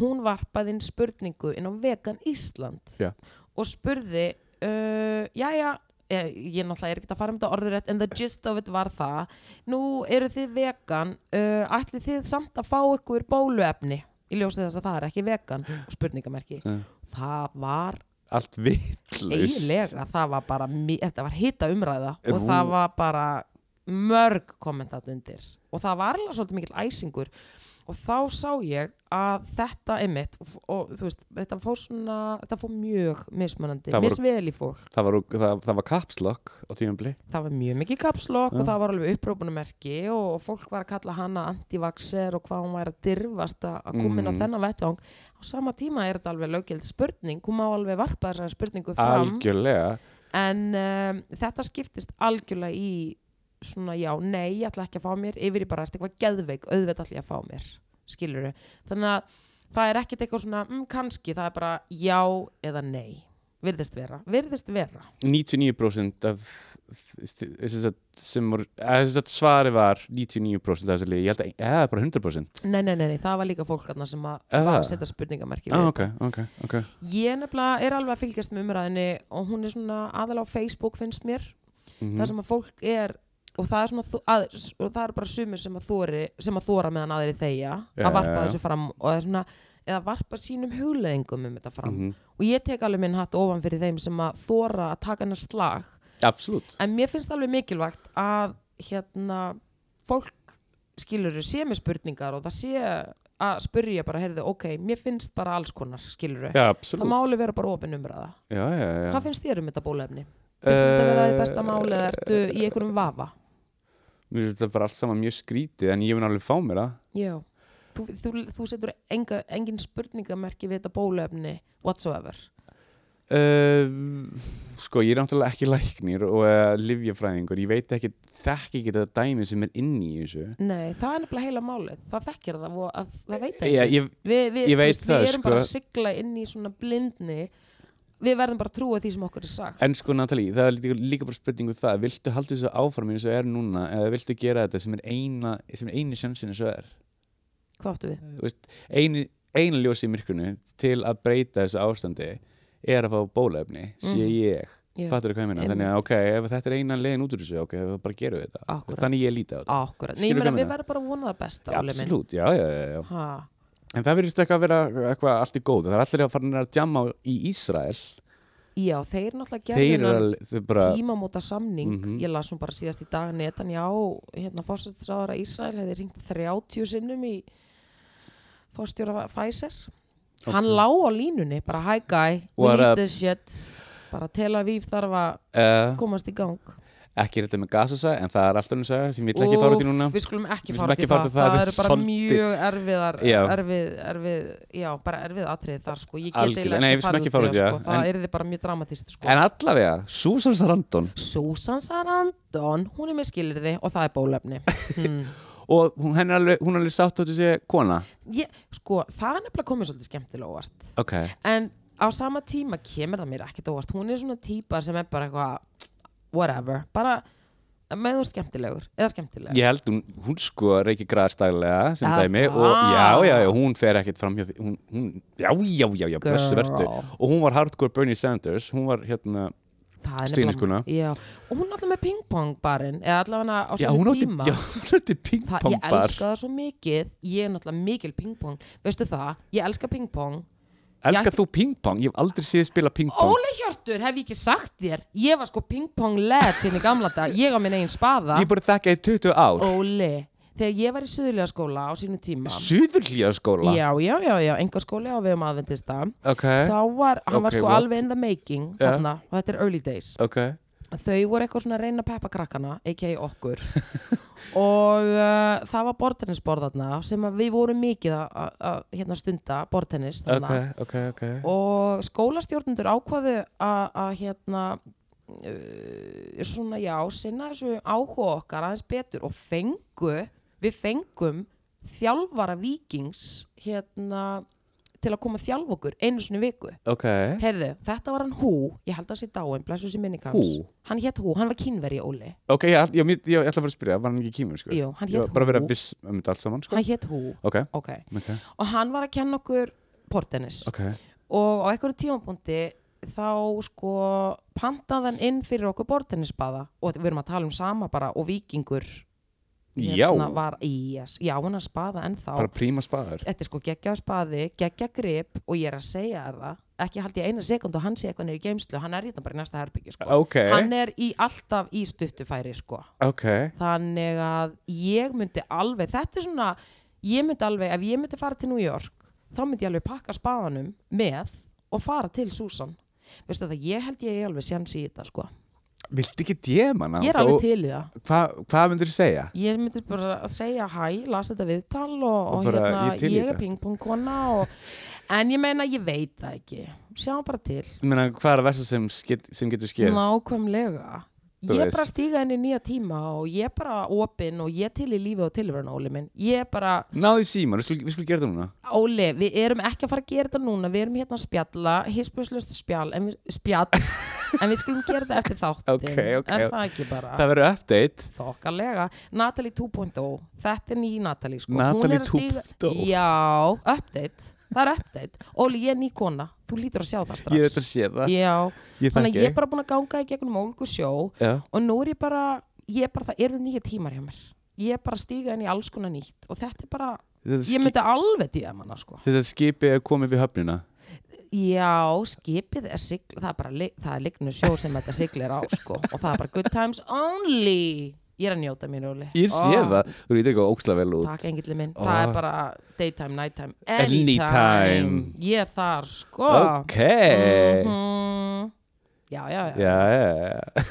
hún varpaði inn spurningu inn á vegan Ísland Já. og spurði uh, jæja eh, ég náttúrulega er ekki að fara um þetta orðurétt en the gist of it var það nú eru þið vegan uh, ætlið þið samt að fá ykkur bóluefni í ljósið þess að það er ekki vegan og spurningamerki Já. það var Allt vitlaust eiginlega það var bara, mi- þetta var hita umræða og Rú- það var bara mörg kommentat undir og það var alveg svolítið mikill æsingur og þá sá ég að þetta einmitt og, og þú veist, þetta fór svona þetta fór mjög mismunandi, Það voru- misvel í fólk Það var, það, það var kapslokk á tíumbli það var mjög mikið kapslokk Já. og það var alveg upprópunumerki og, og fólk var að kalla hana antivaxer og hvað hún væri að dyrfast að að koma inn á Mhm. þennan vettvang á sama tíma er þetta alveg löggjald spurning hún má alveg varpa þessari spurningu fram Algjörlega en um, þetta skiptist algjörlega í svona já, nei, ég ætla ekki að fá mér yfir í bara eftir eitthvað geðveik, auðvitað ætla ég að fá mér skilur þau, þannig að það er ekkert eitthvað svona, mm, kannski það er bara já eða nei, virðist vera virðist vera, 99% af þess að sem voru, eða sem sagt svari var 99% af þessu liði, ég held að eða bara 100% nei, nei, nei, nei það var líka fólk þarna sem að eða var að það? setja spurningamerki Ah, við ok, ok, ok ég nefnilega er alveg að fylgjast með umræðinni og hún er svona aðal á Facebook finnst mér mm það sem að fólk er og það er, svona, þo- að, og það er bara sumir sem að, þori, sem að þóra meðan aðri þegja Já, að varpa já, já. þessu fram og það er svona eða varpa sínum hugleðingum um þetta fram Mhm. og ég tek alveg minn hatt ofan fyrir þeim sem að þóra að taka hennar slag Absolutt. en mér finnst alveg mikilvægt að hérna fólk skilur sé með spurningar og það sé að spurja bara, heyrðu, ok, mér finnst bara alls konar skilur það Já, absolutt. máli vera bara opin umræða Já, já, já. Eh, hvað finnst þér um þetta bólefni? finnst þér þetta vera í besta máli eða ertu í einhverjum vafa? eh, Mér finnst þetta bara allt saman mjög skrítið en ég mun alveg fá mér það. Já, þú, þú, þú setur enga, engin spurningamerki við þetta bólefni whatsoever Uh, sko, ég er náttúrulega ekki læknir og uh, livjafræðingur. Ég veit ekki, þekki ekki þetta dæmi sem er inni í þessu. Nei, það er nefnilega heila málið, það þekkir það og að, það veit ekki Já, ég, við, við, Ég veit veist, það, við erum sko. bara að sigla inn í svona blindni við verðum bara að trúa því sem okkur er sagt en sko, Natalie, það er líka, líka bara spurningu það. Viltu halda þessu áfram eins og er núna eða viltu gera þetta sem er, eina, sem er eini sjansin eins og er? hvað áttu við? Þú veist, eini, eina ljósi í myrkunni til að breyta þessu ástandi er að fá bólefni, sé Mhm. ég. Já. Fattur hvað ég meina? Þannig að, ok, ef þetta er eina leiðin út úr þessu, ok, þá bara gerum við þetta. Akkúrat. Þannig ég líti á þetta. Akkurat, Nei, ég Skilur meina hvað við meina? verðum bara að vona það besta Óli minn. Absolutt, já, já, já, já. Ha, En það verðist eitthvað að vera eitthvað allt í góð. Það er allir að fara að djama á- í Ísrael. Já, þeir náttúrulega gerðu Þeir eru þennan alveg, þau bara, tímamóta samning Mhm. ég las hún bara síðast í dag Netanyahu, hérna fórstjóra Ísrael hefði ringt 30 sinnum í fórstjóra Pfizer Ok. hann lá á línunni bara hi guy, we What need up?" this shit bara Tel Aviv þarf að uh, komast í gang ekki þetta með gasasa, en það er alltaf um þess sem ég vil ekki fara út í Úff, núna. við skulum ekki Við skulum fara út í það, ekki fara út í það, það, eru þetta er bara soldið- mjög erfiðar Já. erfið, erfið, já, bara erfið atrið þar sko, ég get Algjörlega. eiginlega Nei, við skulum ekki fara í út það, í það, sko. það en- er þið bara mjög dramatist sko. En allavega, Susan Sarandon, Susan Sarandon, hún er með skilirði og það er bólefni hmm. og hún henn er alveg, hún er alveg sátt átt að segja kona. ég, sko, það er nefnilega komið svolítið skemmtilega óvart Ok, en á sama tíma kemur það mér ekkert óvart hún er svona típa sem er bara eitthvað whatever, bara með þú ert skemmtilegur, eða skemmtilegur ég held hún, hún sko reykir græðstaglega sem Er dæmi það? og já, já, já, hún fer ekkert fram hjá því, hún, hún, já, já, já, já, blessu vertu. Girl. Og hún var hardcore Bernie Sanders, hún var hérna, Það er Stuðningskona. nefnilega- Já, og hún er alltaf með pingpongbarinn eða allavega á já, sínum hún átti, tíma já, hún átti það, pingpongbar. Ég elska það svo mikið Ég er náttúrulega mikil pingpong Veistu það, ég elska pingpong Elskar Ég- þú pingpong? Ég hef aldrei séð þig spila pingpong Óli Hjörtur, hef ég ekki sagt þér Ég var sko pingpong led sinni gamla dag Ég á minn eigin spaða Ég bara þekka í 20 ár Óli, þegar ég var í söðulega skóla á sínum tíma Suðurlíða skóla Já, já, já, já, enga skóli á vegum aðvendista Ok, Þá var, hann var Eh? Ok, sko what? Eh? alveg in the making Já. þarna, og þetta er early days ok þau voru eitthvað svona að reyna að peppa krakkana a.k.a. okkur og uh, það var bortennisborð þarna sem að við vorum mikið að- að að, hérna, stunda bortennis Ok, þarna ok, ok og skólastjórnendur ákvaðu að að, hérna uh, svona já, sinna þessu áhuga okkar aðeins betur og fengu, við fengum þjálfara vikings hérna til að koma að þjálfa okkur einu sinni í viku Ok, Heyrðu, þetta var hann Hú, ég held að það sé dáin, blessu sér minning hans. Hú? Hann hétt Hú, hann var kínverji Óli. ok, ég, ég, ég, ég ætla að fara að spyrja Var hann ekki kýmur, sko? Jú, hann Ég hétt var bara að vera Hú. viss um þetta allt saman, sko Hann hétt Hú, Ok, ok. ok, Og hann var að kenna okkur portennis. ok Og á einhverjum tímapunkti þá sko pantaði hann inn fyrir okkur portennisbaða og við erum að tala um sama bara og vikingur Já, hérna var í, yes, já hann að spaða ennþá. bara príma spaður Þetta er sko geggja spaði, geggja grip og ég er að segja þér það, ekki haldi ég eina sekund og hann sé eitthvað neyri geimslu, hann er hérna bara í næsta herbyggi sko. Ok, hann er í alltaf í stuttufæri sko. ok þannig að ég myndi alveg þetta er svona, ég myndi alveg ef ég myndi fara til New York þá myndi ég alveg pakka spaðanum með og fara til Susan veistu það, ég held ég eigi alveg sjans í þetta sko. Viltu ekki djema hana? ég er alveg til í það Hvað hva myndir þú segja? ég myndi bara að segja hæ, las þetta viðtal og, Og og bara, hérna, ég er til í ég er þetta. pingpongkona og, en ég meina, ég veit það ekki sjáum bara til Ég meina, hvað er að versa sem, skit- sem getur skeið? Nákvæmlega Þú Ég er bara að veist. stíga inn í nýja tíma og ég er bara opinn og ég til í lífi og tilverun Óli minn, ég er bara Náðu í síman, við skulum við skulum gera þetta núna Óli, við erum ekki að fara að gera þetta núna við erum hérna að spjalla, hispjuslust spjall en við, spjall, en við skulum gera þetta eftir þáttin, Ok, ok. er það ekki bara Það verður update þokkalega, Natalie 2.0 þetta er ný Natalie sko Hún Natalie oh. er að stíga- 2.0. Já, update, það er update Óli, ég er ný kona, þú lítur að sjá það strax Ég er þetta að sé það Já, Ég þannig að ég þekki er bara búin að ganga í gegnum ólgu sjó Já, og nú er ég bara, ég er bara, það eru nýja tímar hjá mér ég er bara að stíga inn í alls konar nýtt og þetta er bara, þetta, Ég ski, myndi alveg DM hana sko þetta skipi er komið við höfnina Já, skipið er sigl það er bara li- það er lignur sjó sem þetta siglir á sko og það er bara good times only Ég er að njóta mín, Óli Ég sé Ó, það, þú veitir eitthvað óksla vel út Takk, engillin minn Ó. Það er bara daytime, nighttime, anytime, Anytime. Ég er þar sko Ok Mhm. Já, já, já, Já, já, já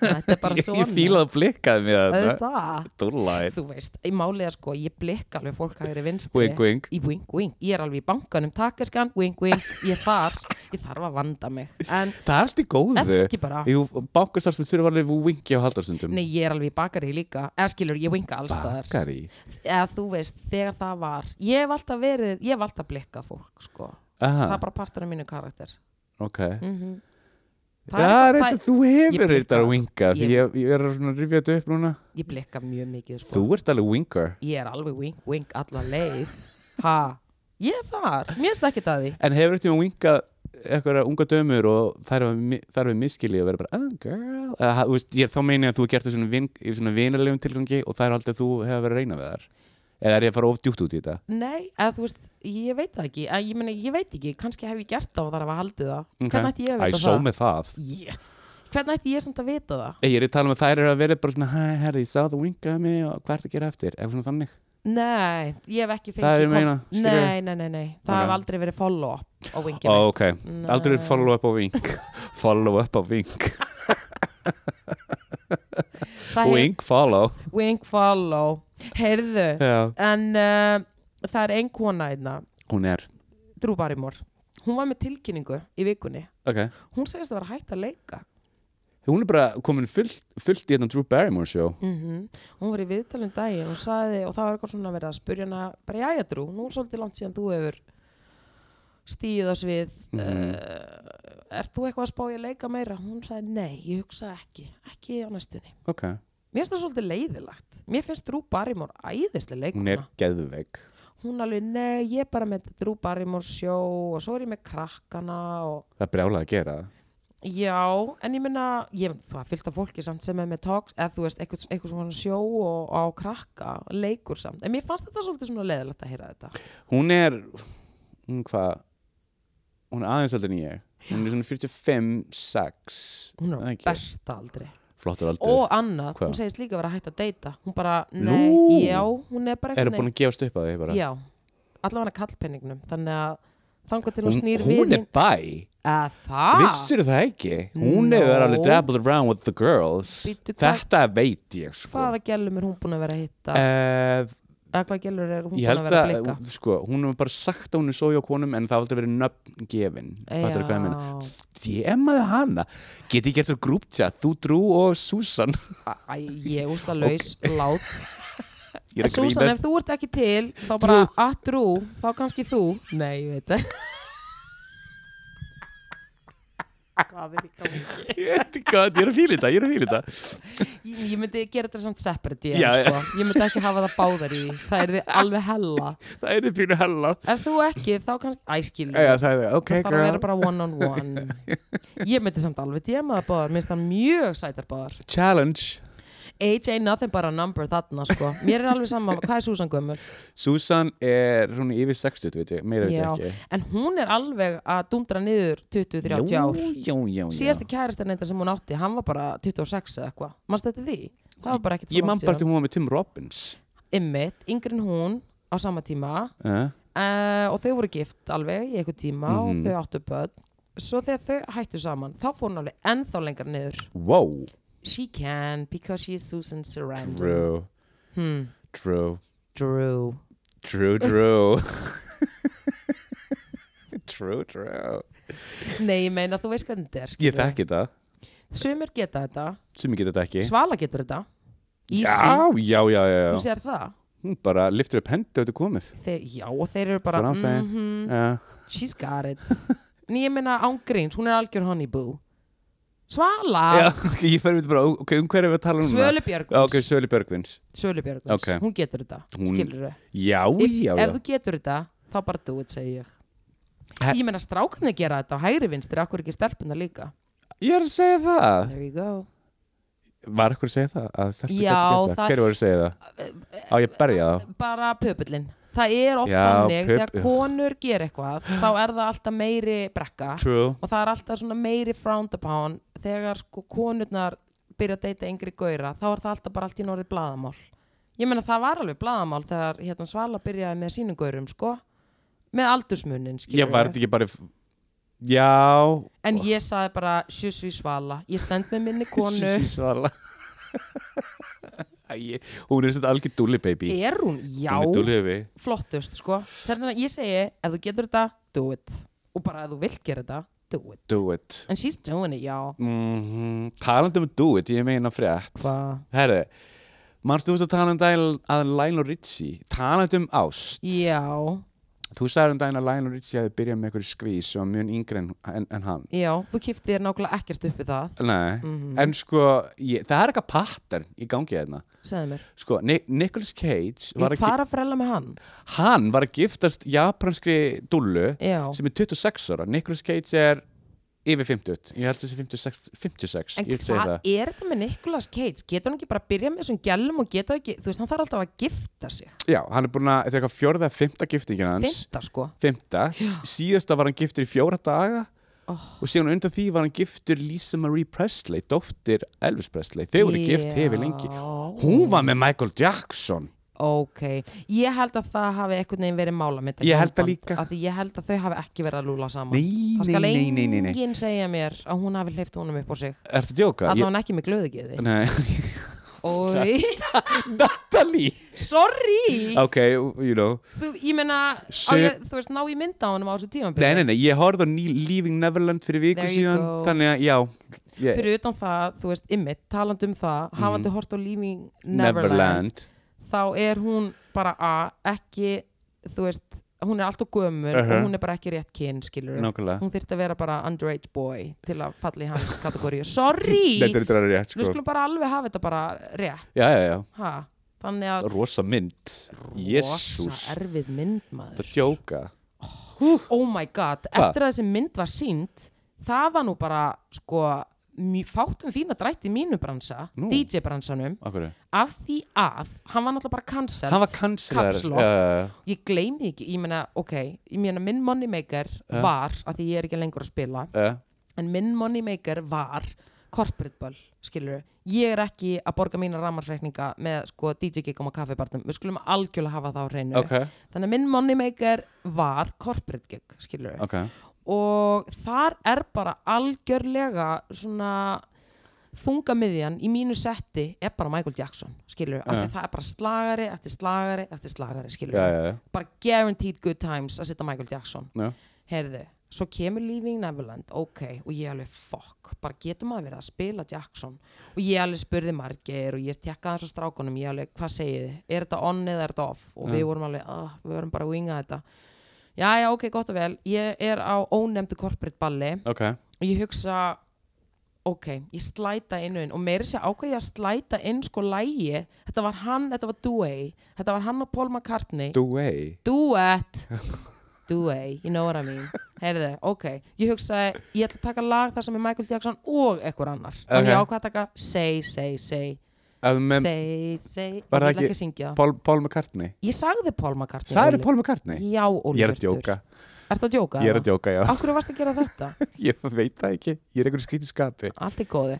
Þetta er bara Ég, svona ég fílaði að blikkaði mér þetta Þetta Dúrlæt Þú veist, í málið er sko, ég blikka alveg fólk hægri vinstri Wink, wink í wink, wink, ég er alveg í bankanum takkaskan, wink, wink, ég þar ég þarf að vanda mig, en Það er allt í góðu ekki bara Jú, bankastarfsmenn þurfa alveg að vinkja á haldarstundum nei, ég er alveg í bakari líka, eða skilur, ég winka allstaðar, Bakari eða þú veist þegar það var, ég hef alltaf verið ég hef alltaf blikkað fólk, sko það Aha, er bara partur af mínu karakter ok mm -hmm. Mhm. Já, reynda, þú ég hefur blikka. þetta að winka Því Ég- ég, ég er að svona rifja þetta upp núna ég blikka mjög mikið, sko Þú ert alveg winker ég er alveg wink, wink alla leið ha, ég er þar, mér finnst ekki það því En hefur þetta að winka eitthvað unga dömur og þær hafa mi- þær við miskili og vera bara oh girl Eða, ha- þú veist, ég, þá meina ég að þú er gert þessum vin, í svona vinalegum tilgangi og þær haldið að þú hefur verið að reyna við þar eða er ég að fara of djúpt út í þetta Nei, eða þú veist, ég veit það ekki eða, ég, meni, ég veit ekki, kannski hef ég gert það og þarf að haldi það Hvernig ætti ég að Æ, vita só það? með það Yeah. Hvernig ætti ég samt að vita það? Ég er að tala um að þær eru að vera bara svona hæ, herði, ég sá það winkaði mig og hvað ertu að gera eftir eitthvað svona þannig Nei, ég hef ekki fengið Það er kom- meina, skilurðu? Nei, nei, nei, nei, það Ok. hef aldrei verið follow-up á Ó, vinginu ok, aldrei follow up á vink follow up á vink Það hef- wink follow Wink follow Heyrðu, Já. en uh, það er ein kona einna hún er, Drew Barrymore Hún var með tilkynningu í vikunni ok Hún segist að vera hægt að leika hún er bara komin fullt, fullt í hérna Drew Barrymore show -hmm. Hún var í viðtalum daginn og sagði og það var eitthvað svona verið að spurja hana bara jæja drú, nú er svolítið langt síðan þú hefur stíð á svið Mhm. mm ert þú eitthvað að spá ég að leika meira? Hún sagði nei, ég hugsa ekki, ekki á næstunni ok, Mér finnst það svolítið leiðilagt Mér finnst Drú Barrymore æðislega hún er leikuna geðveik Hún alveg, nei, ég er bara með Drú Barrymore sjó og svo er ég með krakkana og það er brjálega að gera það. Já, en ég minna, ég það er fyllt af fólki samt sem er með talks, eða þú veist, eitthvað, eitthvað svona sjó og, og á krakka, leikur samt. En mér fannst þetta svolítið svona leðilegt að heyra þetta. hún er hún hvað hún er aðeins aldrei en ég hún er svona 45-6 Hún er Það á ekki. besta aldri. flottur aldur, Og annað, Hvað? hún segist líka vera hægt að deyta. Hún bara, nei, Nú. já, hún er bara eru búin að gefast upp að því bara Já, allavega kallpenningnum, þannig að þangar til hún hún, snýr við. hún er hinn- bæ Að það? Vissir það ekki? Hún No. hefur alveg dabbled around with the girls Bíddu, hvað- Þetta veit ég sko Hvaða gælum er hún búin að vera að hitta? Eh, Eða hvað gælur er hún Ég búin að held vera að að, blikka? sko, hún hefur bara sagt að hún er sói á konum en það hafði verið nöfn gefin Fattur hvað ég meina? Já. DMaði hana Geti ég gert svo grúptjat, þú Drú og Susan Æ, ég úsla laus, lát Ég er að Susan, grínast ef þú ert ekki til þá bara að trú, þá kannski þú Nei, ég veit það Hvað er í gangi? Ég veit ekki hvað, ég er að fíla þetta, ég er að fíla þetta Ég, ég myndi gera þetta samt separate ég, Já, já. sko. ég myndi ekki hafa það báðar í því. Það er þið alveg hella Það er þið pínu hella Ef þú ekki, þá kannski Æskil, Eða, það er það, ok það þarf að vera girl bara one on one Ég myndi samt alveg djema það báðar Mér finnst það mjög sætar báðar Challenge Age ain't nothing but a number þarna sko. Mér er alveg saman, hvað er Susan gömul? Susan er, hún er yfir 60, veit ég, meira veit Já, ég ekki en hún er alveg að dundra niður 20-30 ár Jú, jú, jú, jú. síðasti kærastinn eitthvað sem hún átti, hann var bara 26 eða eitthvað, mannst þetta því? það var bara ekkert Ég svo man langt bara til síðan hún var með Tim Robbins ymmit, yngri en hún á sama tíma Eh, uh, og þau voru gift alveg í eitthvað tíma og Mhm. þau áttu börn svo þegar þau hættu saman, þá fór hún alveg ennþá lengra niður Wow, she can because she is Susan Sarandon Drew, Hmm, Drew Drew Drew, Drew Drew, Drew nei, ég meina þú veist hvernig þetta er Ég skilurðu. þekki þetta, sumir geta þetta, sem ég geta þetta ekki Svala getur þetta Easy, Já, já, já, já, þú já. sér það Hún bara liftur upp hendi og þetta er komið Þeir, já, og þeir eru bara That's what I'm saying. mhm, uh, She's got it En ég meina ángríns, hún er algjör honeyboo Svala Já, ok, ég fer við bara, ok, um hverju við að tala núna? Svölu Já, Ok, Björgvins Svölu Björgvins Svölu Björgvins, Ok. hún getur þetta Hún- Skilur þau Já, já, Ef já þú getur þetta, þá bara do it, segi ég He- Ég meina strákarnir gera þetta á hægri vinstri Akkur ekki stelpuna líka Ég er að segja það There you go Var ekkur að segja það? Að Já, stelpur gætu gert það- Hverju voru að segja það? Á, ég berja þá Bara pöpullin það er oft Já, þannig pup- þegar konur ger eitthvað þá er það alltaf meiri brekka True og það er alltaf svona meiri frowned upon þegar sko konurnar byrja að deyta yngri gauðra þá er það alltaf bara allt í norðið blaðamál ég meina það var alveg blaðamál þegar hérna Svala byrjaði með sínum gauðrum sko með aldursmunin Ég var þetta ekki bara Já en ég saði bara sjusvi Svala ég stend með minni konu Sísí Svala Æ, Hún er þetta algjör dúli baby er hún? Já, Hún er dúli baby flottust sko þannig að ég segi ef þú getur þetta, do it og bara ef þú vilt gera þetta, do it Do it and she's doing it, já mm -hmm. Talandi um do it, ég meina frétt hvað? Herðu, manstu þú veist að tala um dæl að Lionel Richie Talandi um ást já, Þú sagði um daginn að Lionel Richie hefði byrjað með einhverju skvís sem var mjög yngri en, en, en hann. já, þú kipti þér nákvæmlega ekkert upp í það Nei, Mhm. en sko, ég, það er eitthvað pattern í gangi þarna. segðu mér, Sko, Ni Nicolas Cage ég var að, var að frella með hann gi- hann var að giftast japanskri dullu já, sem er 26 ára. Nicolas Cage er yfir 50, ég held þessi 56, 56 en ég vil segja hvað það. er þetta með Nicolas Cage? getur hann ekki bara að byrja með þessum gælum og getur ekki, þú veist, hann þarf alltaf að gifta sig Já, hann er búin að, þetta er eitthvað fjórða, fymta giftingin hans. finta sko, Fymta, síðasta var hann giftur í fjóra daga oh, og síðan undan því var hann giftur Lisa Marie Presley, dóttir Elvis Presley. Þau voru gift hefur lengi. Hún var með Michael Jackson Ok, ég held að það hafi einhvern veginn verið mála mitt Ég held það líka. Því ég held að þau hafi ekki verið að lúla saman Nei, Það nei, skal nei, nei, nei, nei. enginn segja mér að hún hafi hleyft honum upp á sig Ertu að djóka? Að það hann ekki með glöðugiði Nei, Og, Natalie sorry Ok, you know þú, Ég meina, á Shit. ég, þú veist, ná ég mynda á honum á þessu tímabili Nei, nei, nei, ég horfði á ný, Leaving Neverland fyrir viku There you síðan go. Þannig að, já ég, Fyrir utan það, þú veist, ymmit, talandi um það Hafandi hort á Leaving Neverland, Mhm. Neverland Þá er hún bara að ekki, þú veist Hún er alltaf gömur Uh-huh. og hún er bara ekki rétt kyn, skilur Nákvæmlega hún þyrfti að vera bara underage boy til að falla í hans kategóriu sorry, Þetta er þetta er rétt, við sko skulum bara alveg hafa þetta bara rétt Já, já, já, ha. þannig að rosa mynd Jésús rosa erfið mynd Það maður djóka oh my god, Hva? eftir að þessi mynd var sínd það var nú bara sko, mj- fátt um fína drætt í mínu bransa Nú. DJ bransanum Akkur af því að hann var náttúrulega bara cancelled Hann var kansilar Caps lock. ég gleymi því ekki, ég meina, ok ég meina, minn moneymaker Ja. var af því ég er ekki lengur að spila Eh, en minn moneymaker var corporate ball, skilur ég er ekki að borga mína ramarsreikninga með sko DJ gigum og kaffibarnum við skulum algjörlega hafa það á hreinu Ok, þannig að minn moneymaker var corporate gig, skilur ok og þar er bara algjörlega svona þungamiðjan í mínu setti er bara Michael Jackson, skilur af því Ja. að það er bara slagari eftir slagari eftir slagari, skilur Já, já, já bara guaranteed good times að setja Michael Jackson Já. heyrðu, svo kemur Leaving Neverland ok, og ég alveg fuck bara getur maður verið að spila Jackson og ég alveg spurði margir og ég tekka þess að strákunum, ég alveg, hvað segið þið er þetta on eða er þetta off og Já. við vorum alveg, ah, við vorum bara að winga þetta já, já, ok, gott og vel, ég er á ónefndu corporate balli Ok, og ég hugsa ok, ég slæta inn og inn og meiri sér ákveði að slæta inn sko lægi, þetta var hann, þetta var Dewey þetta var hann og Paul McCartney do way duet duet, you know what I mean heyrðu, ok, ég hugsaði ég ætla að taka lag þar sem er Michael Jackson og einhver annar, þannig ég Ok. ákvað að taka say, say, say, Með say, say ég Var ætla það ekki ekki- að syngja það. Paul, Paul McCartney ég sagði Paul McCartney Særi Óli. Paul McCartney? já, Ólfur Ég er að djóka Ertu að djóka? Ég er að djóka, já Af hverju varst að gera þetta? Ég veit það ekki, ég er einhverju skrítið skapi Allt er góði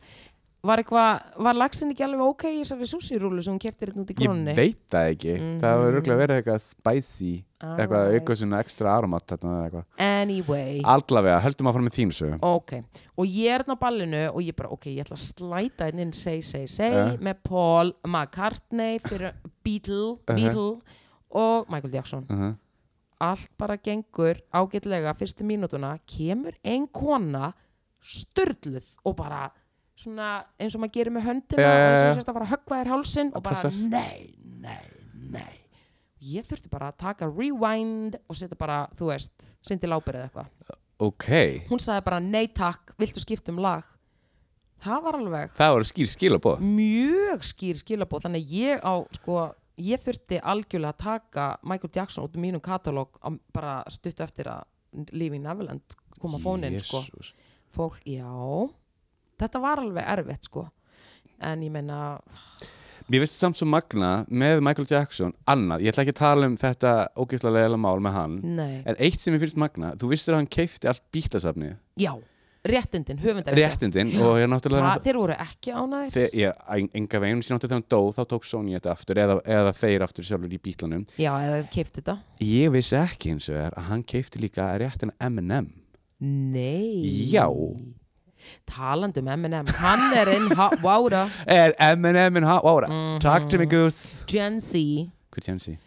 Var, eitthva, var lagsin ekki alveg ok í þessari súsirúlu sem hún keftir hérna út í Ég krónunni? veit það ekki, það var örgulega verið eitthvað spicy, eitthvað Alright. eitthvað svona ekstra aromat þarna eða eitthvað. Anyway Allavega, höldum að fara með þínu sögum. ok, og ég er hérna á ballinu og ég bara, ok, ég ætla að slæta hérna inn inn say, say, say Ja. með Paul McCartney fyrir Beatle, Beatle og Michael Jackson Uh allt bara gengur ágætlega fyrstu mínútuna, kemur ein kona sturluð og bara svona eins og maður gerir með höndina Ja, ja, eins og ja. sérst að fara að höggva þér hálsin og Það bara passar. nei, nei, nei ég þurfti bara að taka rewind og setja bara, þú veist, syndi lábir eða eitthvað Ok, hún sagði bara nei takk, viltu skipta um lag það var alveg það voru skýr skilabóð. mjög skýr skilabóð þannig að ég á sko ég þurfti algjörlega að taka Michael Jackson út um mínum katalóg á- bara stutt eftir að Living Neverland kom á fónin sko fólk, já þetta var alveg erfitt sko en ég meina Mér finnst samt svo magna með Michael Jackson annað, ég ætla ekki að tala um þetta ógeðslega leila mál með hann Nei. en eitt sem ég finnst magna, þú vissir að hann keifti allt bítlasafni, Já, réttindin, höfundar réttindin og ég náttúrulega Þeir voru ekki ánæðir þegar, ég, en- enga veginn síðan átti þegar hann dó þá tók Sony þetta aftur eða, eða þeir aftur sjálfur í bítlanum Já, eða þeir keipti þetta ég vissi ekki eins og er að hann keifti líka réttin M&M Nei Já. Talandi um M&M Hann er inn Vára er M&M in hot water talk to me goose Mhm. Gen Z hvað tjáns ég?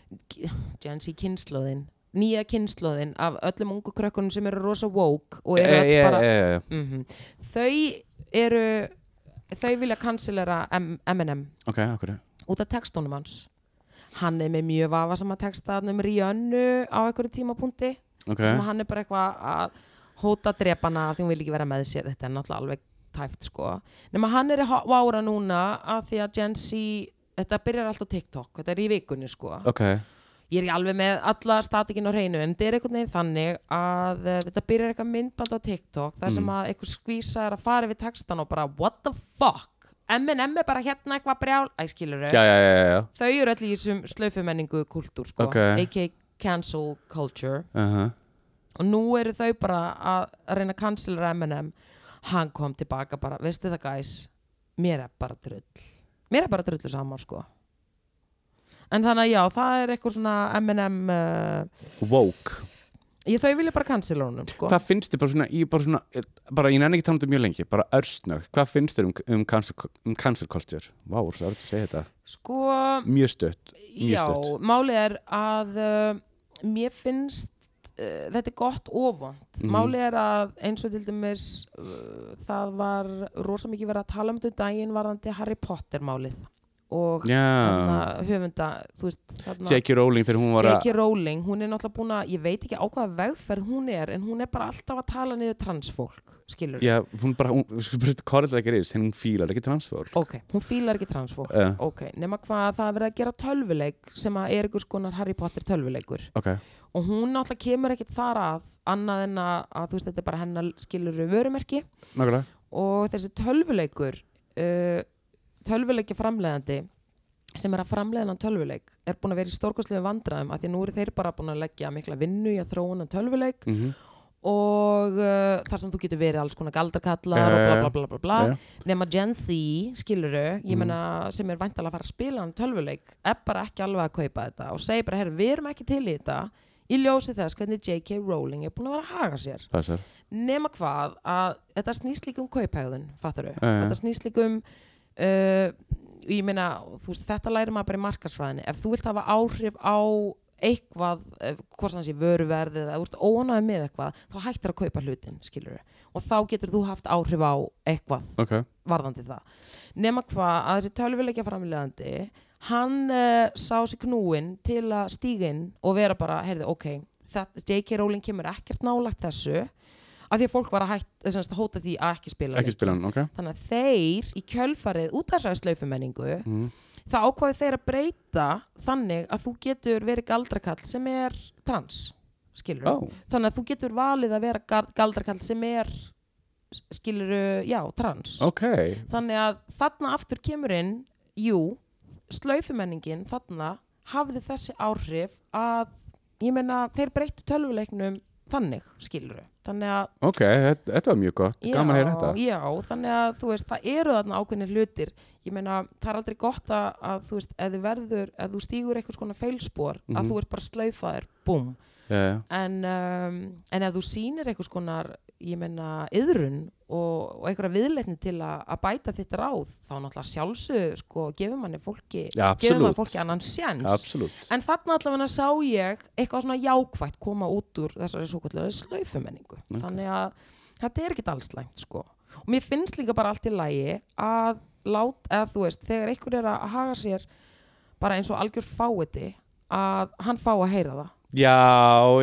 Gen Z kynnslóðin Nýja kynnslóðin Af öllum ungu krökkunum sem eru rosa woke Og E, eru e, öll bara e, Mhm. Þau eru Þau vilja kansilera M&M ok, okkur Út af textónum hans Hann er með mjög vafasama texta þarna um Rihannu á einhverju tímapunkti ok, sem hann er bara eitthvað að hóta drepana því hún vil ekki vera með sér þetta er náttúrulega alveg tæft sko nema hann er í há- vára núna að því að Gen Z þetta byrjar alltaf TikTok, þetta er í vikunni sko ok ég er ekki alveg með alla statikinn á hreinu en þetta er einhvern veginn þannig að uh, þetta byrjar eitthvað myndband á TikTok þar sem Mm. að einhver skvísa er að fara við textan og bara what the fuck M&M er bara hérna eitthvað brjál æ skilur já, já, já, já, já. þau eru allir í þessum slaufumenningu kultúr sko Ok. aka cancel culture Uh -huh. og nú eru þau bara að reyna að cancelera M&M hann kom tilbaka bara, veistu það guys mér er bara drull mér er bara drullu saman sko en þannig að já, það er eitthvað svona M&M uh, woke ég þau vilja bara cancela honum sko hvað finnst þið bara svona, ég bara svona eh, bara, ég nenni ekki tala um þetta mjög lengi, bara örstnögg hvað finnst þið um, um, cancel, um cancel culture vá, wow, það er að segja þetta sko, mjög stutt, mjög já, stutt. málið er að uh, mér finnst uh, þetta er gott ofant Mhm. málið er að eins og til dæmis uh, það var rosa mikið verið að tala um þetta um daginn varðandi Harry Potter málið og þarna já, höfunda þú veist, þarna, J.K. Rowling fyrir hún var að J.K. Rowling, hún er náttúrulega búin að ég veit ekki á hvaða vegferð hún er en hún er bara alltaf að tala niður transfólk skilur, já, hún bara, hún, við skulum bara hvað þetta gerist, henni hún fílar ekki transfólk ok, hún fílar ekki transfólk uh, ok, nema hvað það er verið að gera tölvuleik sem að er einhvers konar Harry Potter tölvuleikur ok, og hún náttúrulega kemur ekkit þar að annað en að, að þú veist, þetta er bara hennar skilur vörumerki nákvæmlega og þessi tölvuleikur uh, tölvuleikja framleiðandi sem er að framleiðan tölvuleik er búin að vera í stórkostlegu vandræðum af því að nú eru þeir bara búin að leggja mikla vinnu í að þróuna tölvuleik mm -hmm. og uh, þar sem þú getur verið alls konar galdarkallar Já, og já, bla bla bla bla bla já. nema Gen Z, skiluru ég Mhm. meina, sem er væntalega að fara að spila hann tölvuleik, er bara ekki alveg að kaupa þetta og segir bara, herru, við erum ekki til í þetta í ljósi þess hvernig J.K. Rowling er búin að vera að haga sér passar, nema hvað að þetta snýst líka um kauphægðun, fattar við Já, já. þetta snýst líka um uh, ég meina, þú veist, þetta læri maður bara í markasfræðinni, ef þú vilt hafa áhrif á eitthvað, eh, hvort sem það sé vöruverð eða þú ert óanæði með eitthvað þá hættir að kaupa hlutin, skilur og þá getur þú haft áhrif á eitthvað ok varðandi það nema hvað að þessi tölvuleikja framlegandi hann uh, sá sér knúin til að stíga inn og vera bara, heyrðu, ok það, J.K. Rowling kemur ekkert nálagt þessu af því að fólk var að, hætt, eh, sem sagt, að hóta því að ekki spila ekki leikinn. spila hann, ok þannig að þeir í kjölfarið út af þessari slaufumenningu mm. þá ákvaði þeir að breyta þannig að þú getur verið galdrakall sem er trans skilur oh. þannig að þú getur valið að vera gal- galdrakall sem er skilur, já, trans ok, þannig að þarna aftur kemur inn jú, slaufumenningin þarna hafði þessi áhrif að, ég meina, þeir breyttu tölvuleiknum þannig, skilur þannig að, ok, þetta, þetta var mjög gott já, gaman að heyra þetta já, þannig að þú veist, það eru þarna ákveðnir hlutir ég meina, það er aldrei gott að, að þú veist, ef þið verður, ef þú stígur eitthvað svona feilspor, Mhm. að þú ert bara slaufaður búm, yeah. en, um, en ef þú sýnir einhvers konar, ég menna, yðrun og, og einhverja viðleitni til að, að bæta þitt ráð, þá náttúrulega sjálfsög, sko, gefur manni fólki, ja, gefur manni absolutt fólki annan sjens. absolutt, En þarna allavega sá ég eitthvað svona jákvætt koma út úr þessari svo kallega slaufumenningu. Ok. Þannig að þetta er ekkit alls læmt, sko. Og mér finnst líka bara allt í lagi að lát, eða þú veist, þegar einhver er að haga sér bara eins og algjör fáiði að hann fá að heyra það já,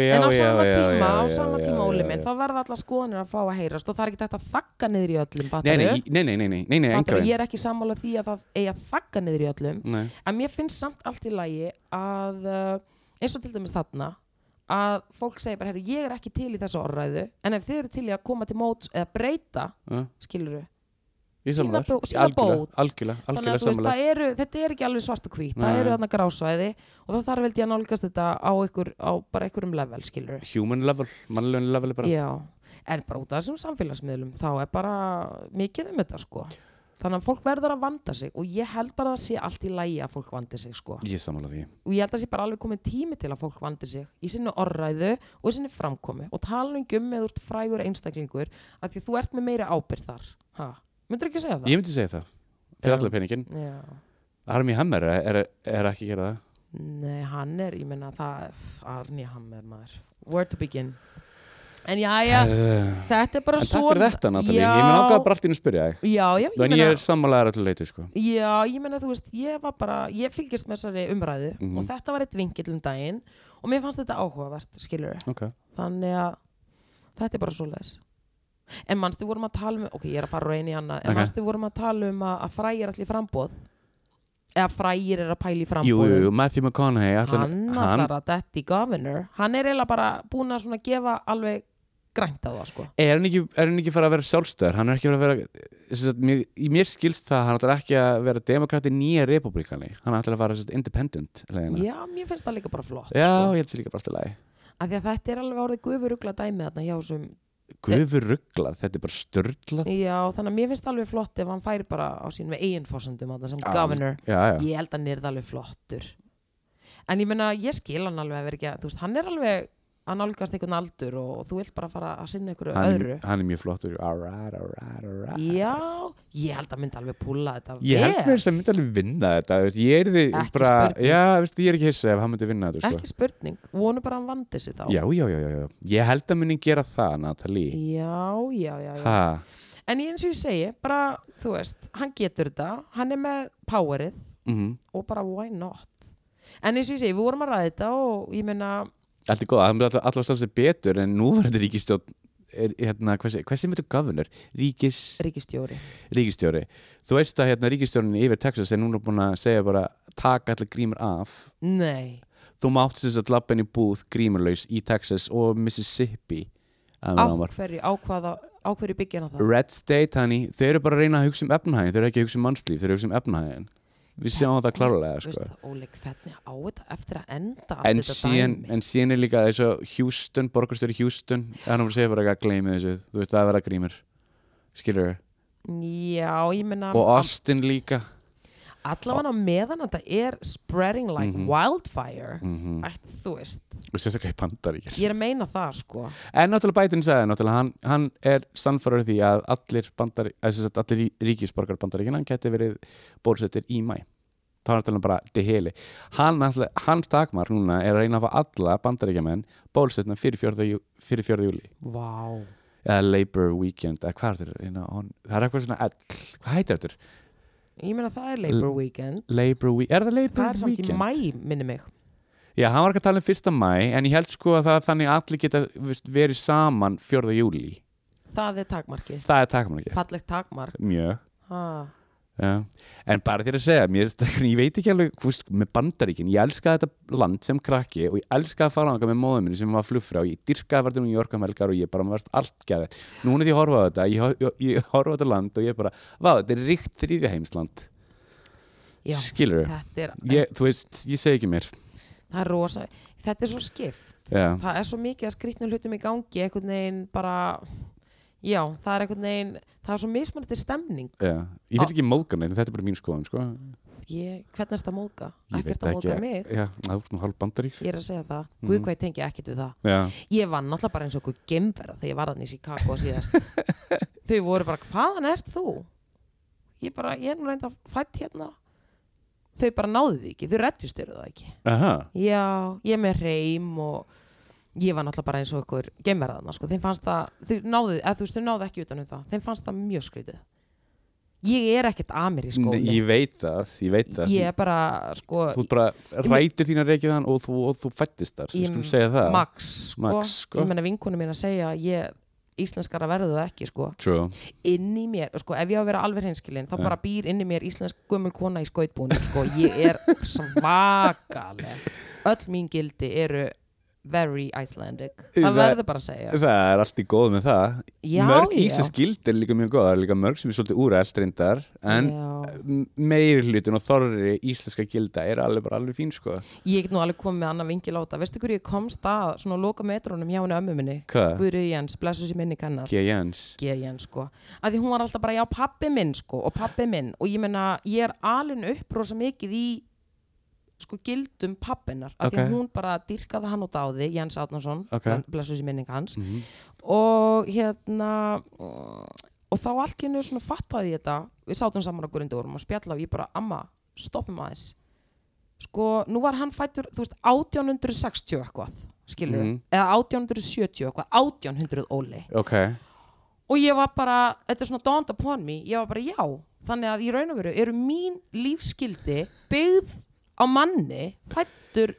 já, en á já, sama já, tíma, á já, já, sama já, tíma já, Óli já, minn, já. þá verða allar skoðanir að fá að heyrast og það er ekki hægt að þakka niður í öllum Nei, fattaru, nei, nei, nei, nei, nei, nei, nei, enga fattaru, veginn. ég er ekki sammála því að það eigi að þakka niður í öllum Nei. en mér finnst samt allt í lagi að uh, eins og til dæmis þarna að fólk segir bara, heyrðu, ég er ekki til í þessu orðræðu en ef þið eru til í að koma til móts eða breyta, Ja. skiluru Ég Sína sammála þér. bó- sína Algjörlega, bót. algjörlega, þannig algjörlega að þú veist, sammála það eru, þetta er ekki alveg svart og hvít það Nei. eru þarna grásvæði og það þarf veldi að nálgast þetta á, ykkur, á bara einhverjum level skilur Human level, mannlegun level er bara Já, en bara út af þessum samfélagsmiðlum þá er bara mikið um þetta sko þannig að fólk verður að vanda sig og ég held bara að það sé allt í lægi að fólk vandi sig sko Ég sammála því og ég held að það sé bara alveg komið tími til að fólk vandi sig í sinni orræðu og í sinni framkomi og tala um göm með úr frægur einstaklingur að því þú ert með meiri ábyrð þar ha, myndir ekki segja það? Ég myndi segja það, fyrir Já. allar peningin Já, Armi Hammer er, er, er ekki að gera það nei, hann er, ég menna það, Arni Hammer maður where to begin en já, já, Herðu. þetta er bara Eh, En takk svona- fyrir þetta, Natalie, ég mun ákvað bara allt í einu að spyrja þig Já, já, ég Þannig meina ég er sammálaðar allir leiti, sko Já, ég meina þú veist, ég var bara, ég fylgist með þessari umræðu Mhm. og þetta var eitt vingill um daginn og mér fannst þetta áhugavert, skilur. Ok Þannig að þetta er bara svoleiðis. En mannstu vorum að tala um, ok, ég er að fara úr einu í annað, en Ok. mannstu vorum að tala um að, að frægir allir framboð, eða frægir er að pæla í framboð. Jú, jú, jú, Matthew McConaughey ætlar- Hann allar að detti governor, hann er eiginlega bara búin að svona gefa alveg grænt að það, sko. er hann ekki, er hann ekki fara að vera sjálfstæður hann er ekki fara að vera sem sagt, mér, í mér skilst það, að hann ætlar ekki að vera demokrati nýja republikani, hann ætlar að fara sem sagt, independent leiðina. Já, mér finnst það líka bara flott, já, sko. ég held sér líka bara alltaf læg Af því að þetta er alveg orðið gufurugla dæmi þarna hjá þessum guður rugglað, þetta er bara störlað Já, þannig að mér finnst alveg flott ef hann færi bara á sínum eigin fórsöndum að sem Já, governor. já, já, Ég held að hann er það alveg flottur. En ég meina, ég skil hann alveg að vera ekki að, þú veist, hann er alveg að nálgast einhvern aldur og, þú vilt bara fara að sinna einhverju hann, öðru. er- hann er mjög flottur alright, alright, alright Já, ég held að myndi alveg púla þetta Ég held mér sem myndi alveg vinna þetta veist, ég er því Ekki bara, spurning. já, veist, ég er ekki hissa ef hann myndi vinna þetta sko. Ekki spurning, vonu bara að hann vandi sig þá. já, já, já, já, já, ég held að myndi gera það Natalie, Já, já, já, já. ha, En ég- eins og ég segi, bara, þú veist, hann getur þetta, hann er með powerið mhm og bara why not? En eins og ég segi, við vorum að ræða þetta og ég meina, allt er góð, það myndi alltaf að standa sig betur en nú var þetta ríkistjórn er, hérna, hversi, hversi myndir governor? Ríkis, ríkistjóri ríkistjóri þú veist að hérna, ríkistjórnin yfir Texas er núna búin að segja bara taka allir grímur af Nei, þú mátt þess að lappa inn í búð grímurlaus í Texas og Mississippi að á meðan var hverju, á, hvaða, á hverju byggja hann það? Red State, hanni, þeir eru bara að reyna að hugsa um efnahægin, þeir eru ekki að hugsa um mannslíf, þeir eru að hugsa um efnahægin við sjáum það klárlega Veist sko. það, Óli, hvernig á þetta eftir að enda allt en, þetta síðan, dæmi? en síðan er líka eins og Houston, borgarstjóri Houston hann var að segja bara að gleymi þessu þú veist það er að vera grímur skilur Já, ég meina og Austin líka allavega meðan þetta er spreading like Mhm. wildfire mm Ætt, þú veist, og sérstaklega í bandaríkjur ég er að meina það sko en náttúrulega Biden sagði náttúrulega hann, hann er sannfæður því að allir, bandar, að sem sagt, allir rí- ríkisborgar bandaríkjana hann geti verið bólusettir í mæ þá er náttúrulega bara deheli hann, náttúrulega- hans takmar núna er að reyna að fá alla bandaríkjamenn bólusettina fyrir 4. Jú, fyrir 4. júli Vá eða Labor Weekend eða hvað er þetta Hérna, hon- það er eitthvað svona ell, hvað heitir þetta Ég meina það er Labor Weekend Labor Week, er það Labor Það er samt í Weekend? mæ, minni mig Já, hann var ekki að tala um fyrsta mæ en ég held sko að það þannig að allir geta viðst, verið saman 4. júli Það er takmarkið, það er takkum ekki, fallegt takmark mjög ha. já, já. en bara þér að segja, mér, finnst- ég veit ekki alveg fúst, með bandaríkin, ég elska þetta land sem krakki og ég elska að fara ánga með móðum minni sem var flugfrá, ég dyrkaði að verða um Jórka melgar og ég bara varst allt gæði núna því ég horfa á þetta, ég, ho- ég, ég horfa á þetta land og ég bara, vá, þetta er ríkt þriðja heimsland, skilur þetta er, ég, þú veist, ég segi ekki mér það er rosa Þetta er svo skipt já, það er svo mikið að skrýtnum hlutum í gangi einhvern veginn bara já, það er einhvern veginn það er svo mismunandi stemning já. ég vil ekki móðgan en þetta er bara mín skoðan sko. ég, hvernig er þetta móka? ég ekkert að móka mig já, það er svona hálf bandarík ég er að segja það, Mhm. guð hvað ég tengi ekkert við það já, ég var náttúrulega bara eins og einhver gemverða þegar ég var hann í Chicago síðast þau voru bara, hvaðan ert þú? ég bara, ég er nú reynda fætt hérna þau bara náðu því ekki, þau rettistjöru það ekki aha Já, ég er með reym og ég var náttúrulega bara eins og ykkur gemverðarna, sko, þeim fannst það þau náðu, eða þú veist, þau náðu ekki utanum það þeim fannst það mjög skrítið Ég er ekkert amerísk Nei, skóli ég veit það, ég veit það Ég er bara, sko, þú ert bara Ég- rætur þín að reykja þann og þú, og þú fættist þar, Ég- við skulum segja það Max, sko, Max, sko. Ég meina vinkunum mín að segja að ég íslenskara verður það ekki, sko True. inn í mér, sko, ef ég á að vera alveg hreinskilin þá Ja. bara býr inn í mér íslensk gömul kona í skautbúinu, sko, ég er svakaleg öll mín gildi eru very Icelandic Það- það verður bara að segja Það er allt í góð með það Já, Mörg já. ísiskild er líka mjög góð Það er líka mörg sem er svolítið úrælt reyndar En Já. m- meiri hlutin og þorri íslenska gilda er alveg bara alveg fín sko ég get nú alveg komið með annað vingil á þetta veistu hverju ég komst að svona loka metrónum hjá henni ömmu minni Hvað? Guðri Jens, blessu sér minni kannar G. Jens G. Jens sko að því hún var alltaf bara já pappi minn sko og pappi minn og ég meina ég er alin upp rosa mikið í sko gildum pappinnar að því Ok. að hún bara dyrkaði hann og dáði Jens Átnason, Ok. blessu sér minning hans mm og hérna mm, og þá allt í hennu svona fattaði ég þetta við sátum saman á Gurindurum og spjalla og ég bara amma, stoppum aðeins sko, nú var hann fættur þú veist, 1860 eitthvað skilur Mhm. eða 1870 eitthvað 1800 óli Ok, og ég var bara, þetta er svona dawned upon me ég var bara já, þannig að í raun og veru eru mín lífskildi byggð á manni fættur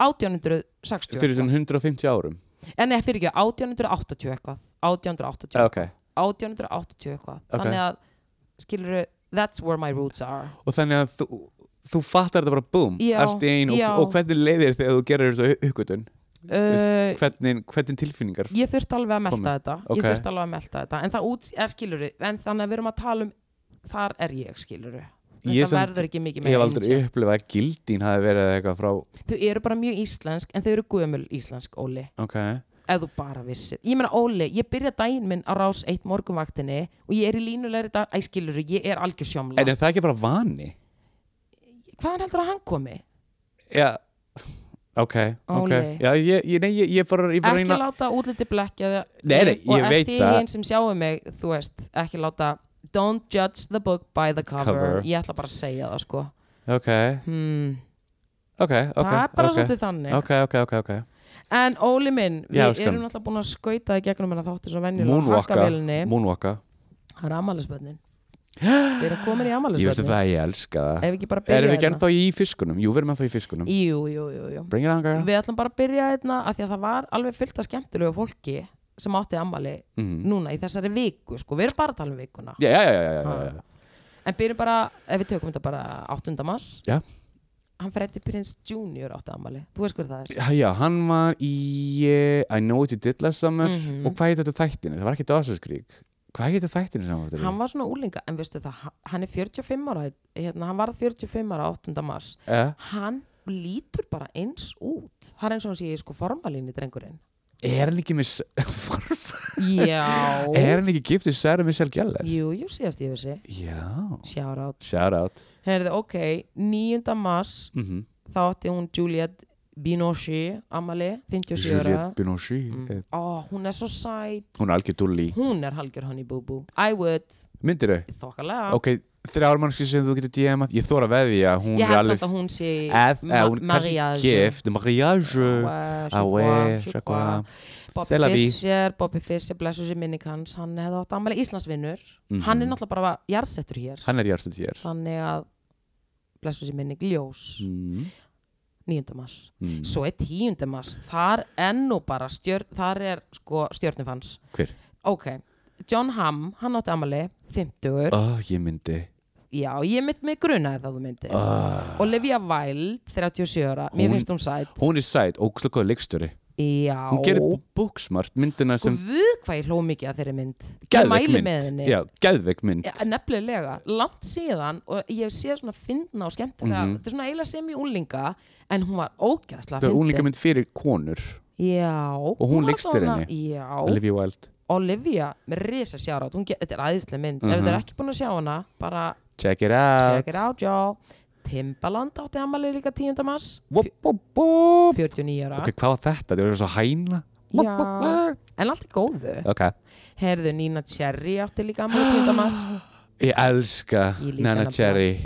1860 fyrir svona 150 árum en Eh, nei, fyrir ekki, 1880 eitthvað 1880 Ok, 1880 eitthvað þannig að skilur that's where my roots are og þannig að þú, þú fattar þetta bara boom Já, Allt í einu já. og, og hvernig leiðir þegar þú gerir þessu uppgötun uh, hvernig, hvernig tilfinningar ég þurft alveg að melta Komið. þetta Ok. ég þurft alveg að melta þetta en það út, er skilur en þannig að við erum að tala um þar er ég skilur Ég þetta samt- verður ekki mikið Ég hef meira aldrei ancient. upplifað að gildín hafi verið eitthvað frá þau eru bara mjög íslensk en þau eru gömul íslensk Óli Ok, ef þú bara vissir ég meina Óli, ég byrja daginn minn á rás eitt morgunvaktinni og ég er í línulegri dag æ skilur, ég er algjör sjómla en er það ekki bara vani? hvaðan heldur að hann komi? Já, ok, ok Óli. Já, ég, ég, nei, ég, ég bara, ég bara ekki láta útliti blekja þig. Nei, nei, og ég ef veit þið það. hinn sem sjáum mig, þú veist, ekki láta don't judge the book by the cover, Cover. ég ætla bara að segja það sko Ok, hmm. ok, ok það er bara ok. svolítið þannig Ok, ok, ok, ok en Óli minn, við Já, skan. erum náttúrulega búin að skauta í gegnum en að þáttu svo venjulega Moonwalka, hakkavilni Moonwalka það er amalisbönnin við erum komin í Ég veist að amalisbönnin það ég elska það ef við ekki bara byrja Erum við ekki hérna? ennþá í fiskunum? Jú, við erum ennþá í fiskunum jú, jú, jú, jú. Bring it on, girl við ætlum bara að byrja hérna af því að það var alveg fullt af skemmtilegu fólki sem átti ammali Mhm. núna í þessari viku sko, við erum bara að tala um vikuna Já, já, já, já, já, já, Ha. já. Ah. En byrjum bara, ef við tökum þetta bara 8. mars Já. Hann freddi prins junior átti ammali Þú veist hver það er Já, já, hann var í uh, I Know What You Did Last Summer Mhm. og hvað heitir þetta þættinu? Það var ekki Dawson's Creek Hvað heitir þættinu sem hann var Hann var svona úlinga, en veistu það ha- Hann er 45 ára, hérna, hann varð 45 ára 8. mars Eh, Hann lítur bara eins út Það er eins og hann sé í sko formalínu drengurinn er hann ekki með s- Já Er hann ekki giftið Sarah Michelle Gellar? Jú, jú, síðast ég vissi Já, Sjárátt shout out Herði, ok, 9. mars mm Þá átti hún Juliette Binoche ammali, 57 ára Juliette Binoche mm. Mm. Ó, hún er svo sæt Hún er algjör dulli Hún er halgjör honey boo boo I would Myndir þau? Þokkalega Ok, þrjár mannski sem þú getur DM-að Ég þóra að veðja að hún Ég er held alveg samt að hún sé að, ma- að hún er kannski mariage. gift Mariage Ouais, je Ah ouais, crois, je je crois. crois. Bobby C'est la vie. Fischer, Bobby Fischer, blessu sér minning hans Hann hefði átt ammæli Íslandsvinnur Mhm. Hann er náttúrulega bara jarðsettur hér Hann er járstuð hér Þannig að blessu sér minning ljós mm. 9. mars Mm. Svo er 10. mars Þar ennú bara stjör, Þar er sko stjörnufans Hver? Ok John Hamm, hann átti ammæli 50 Oh, ég myndi Já, ég mynd með grunaði það þú myndir oh. Olivia Wilde, 37 ára Mér Hún- finnst hún sætt Hún er sæt, ókslega góð leikstjóri Já Hún gerir búksmart myndina sem Guð hvað ég hló mikið að þeirri mynd Ég Geðveik mæli Sko, mynd með henni Já, geðveik mynd Ja, Nefnilega, langt síðan og ég sé svona fyndna og skemmtilega Mhm. Þetta er svona eiginlega sem í úlinga en hún var ógeðslega Það er fyndin. únlíka mynd fyrir konur Já Og hún var leikstýrir þarna- henni. Já, Olivia Wilde, Olivia með risa sjárat Þetta er æðislega mynd Ef Mhm. þið er ekki búin að sjá hana bara check it out check it out, já Timbaland átti ammali líka 10. mars Wop, wop, wop 49 ára Ok, hvað var þetta? Það var svo hæna Já. En allt er góðu Ok Herðu, Nina Cherry átti líka ammali 10. mars Ég elska Ég líka Nana nefnilega. Ah. Cherry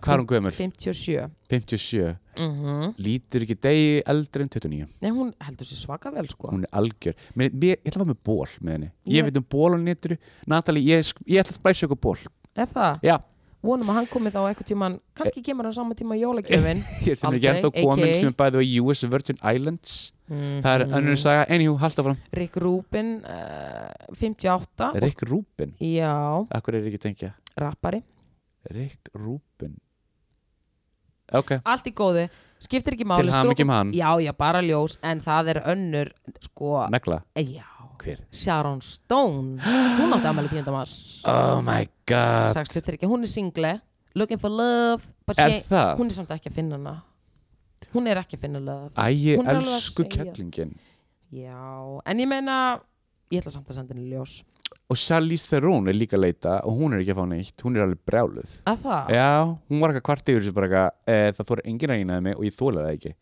Hvað er hún gömul? 57 57 mm Lítur ekki degi eldri en 29 Nei, hún heldur sér svaka vel sko Hún er algjör mér, mér, Ég ætla að fá með ból með henni Ég Ég- veit um ból á netru Natalie, ég, sk- ég ætla að spæsa ykkur ból Er það? Já, Eh. Vonum að hann komi þá eitthvað tíman Kannski kemur hann saman tíma í jólagjöfin ég sem er ekki Aldrei, ennþá komin aka. sem er bæðið á US Virgin Islands mm. Það er önnur saga, anywho, halda fram Mhm. Rick Rubin uh, 58 Rick Rubin, Já, akkur er ég ekki að tengja rappari Rick Rubin ok, allt í góðu, skiptir ekki máli til strókum- ham ekki um hann já, já, bara ljós, en það er önnur sko, negla, já hver? Sharon Stone, hún átti afmæli 10. mars Oh my god 63, hún er single looking for love but Er she, það? hún er samt ekki að finna hana hún er ekki að finna love Æ, ég Hún er alveg að elsku segja. kettlingin já, en ég meina ég ætla samt að senda henni ljós og Charlize Theron er líka að leita og hún er ekki að fá neitt, hún er alveg brjáluð að það, já, hún var eitthvað kvart yfir þessu bara eitthvað e, það þóra enginn að reynaði mig og ég þólaði það ekki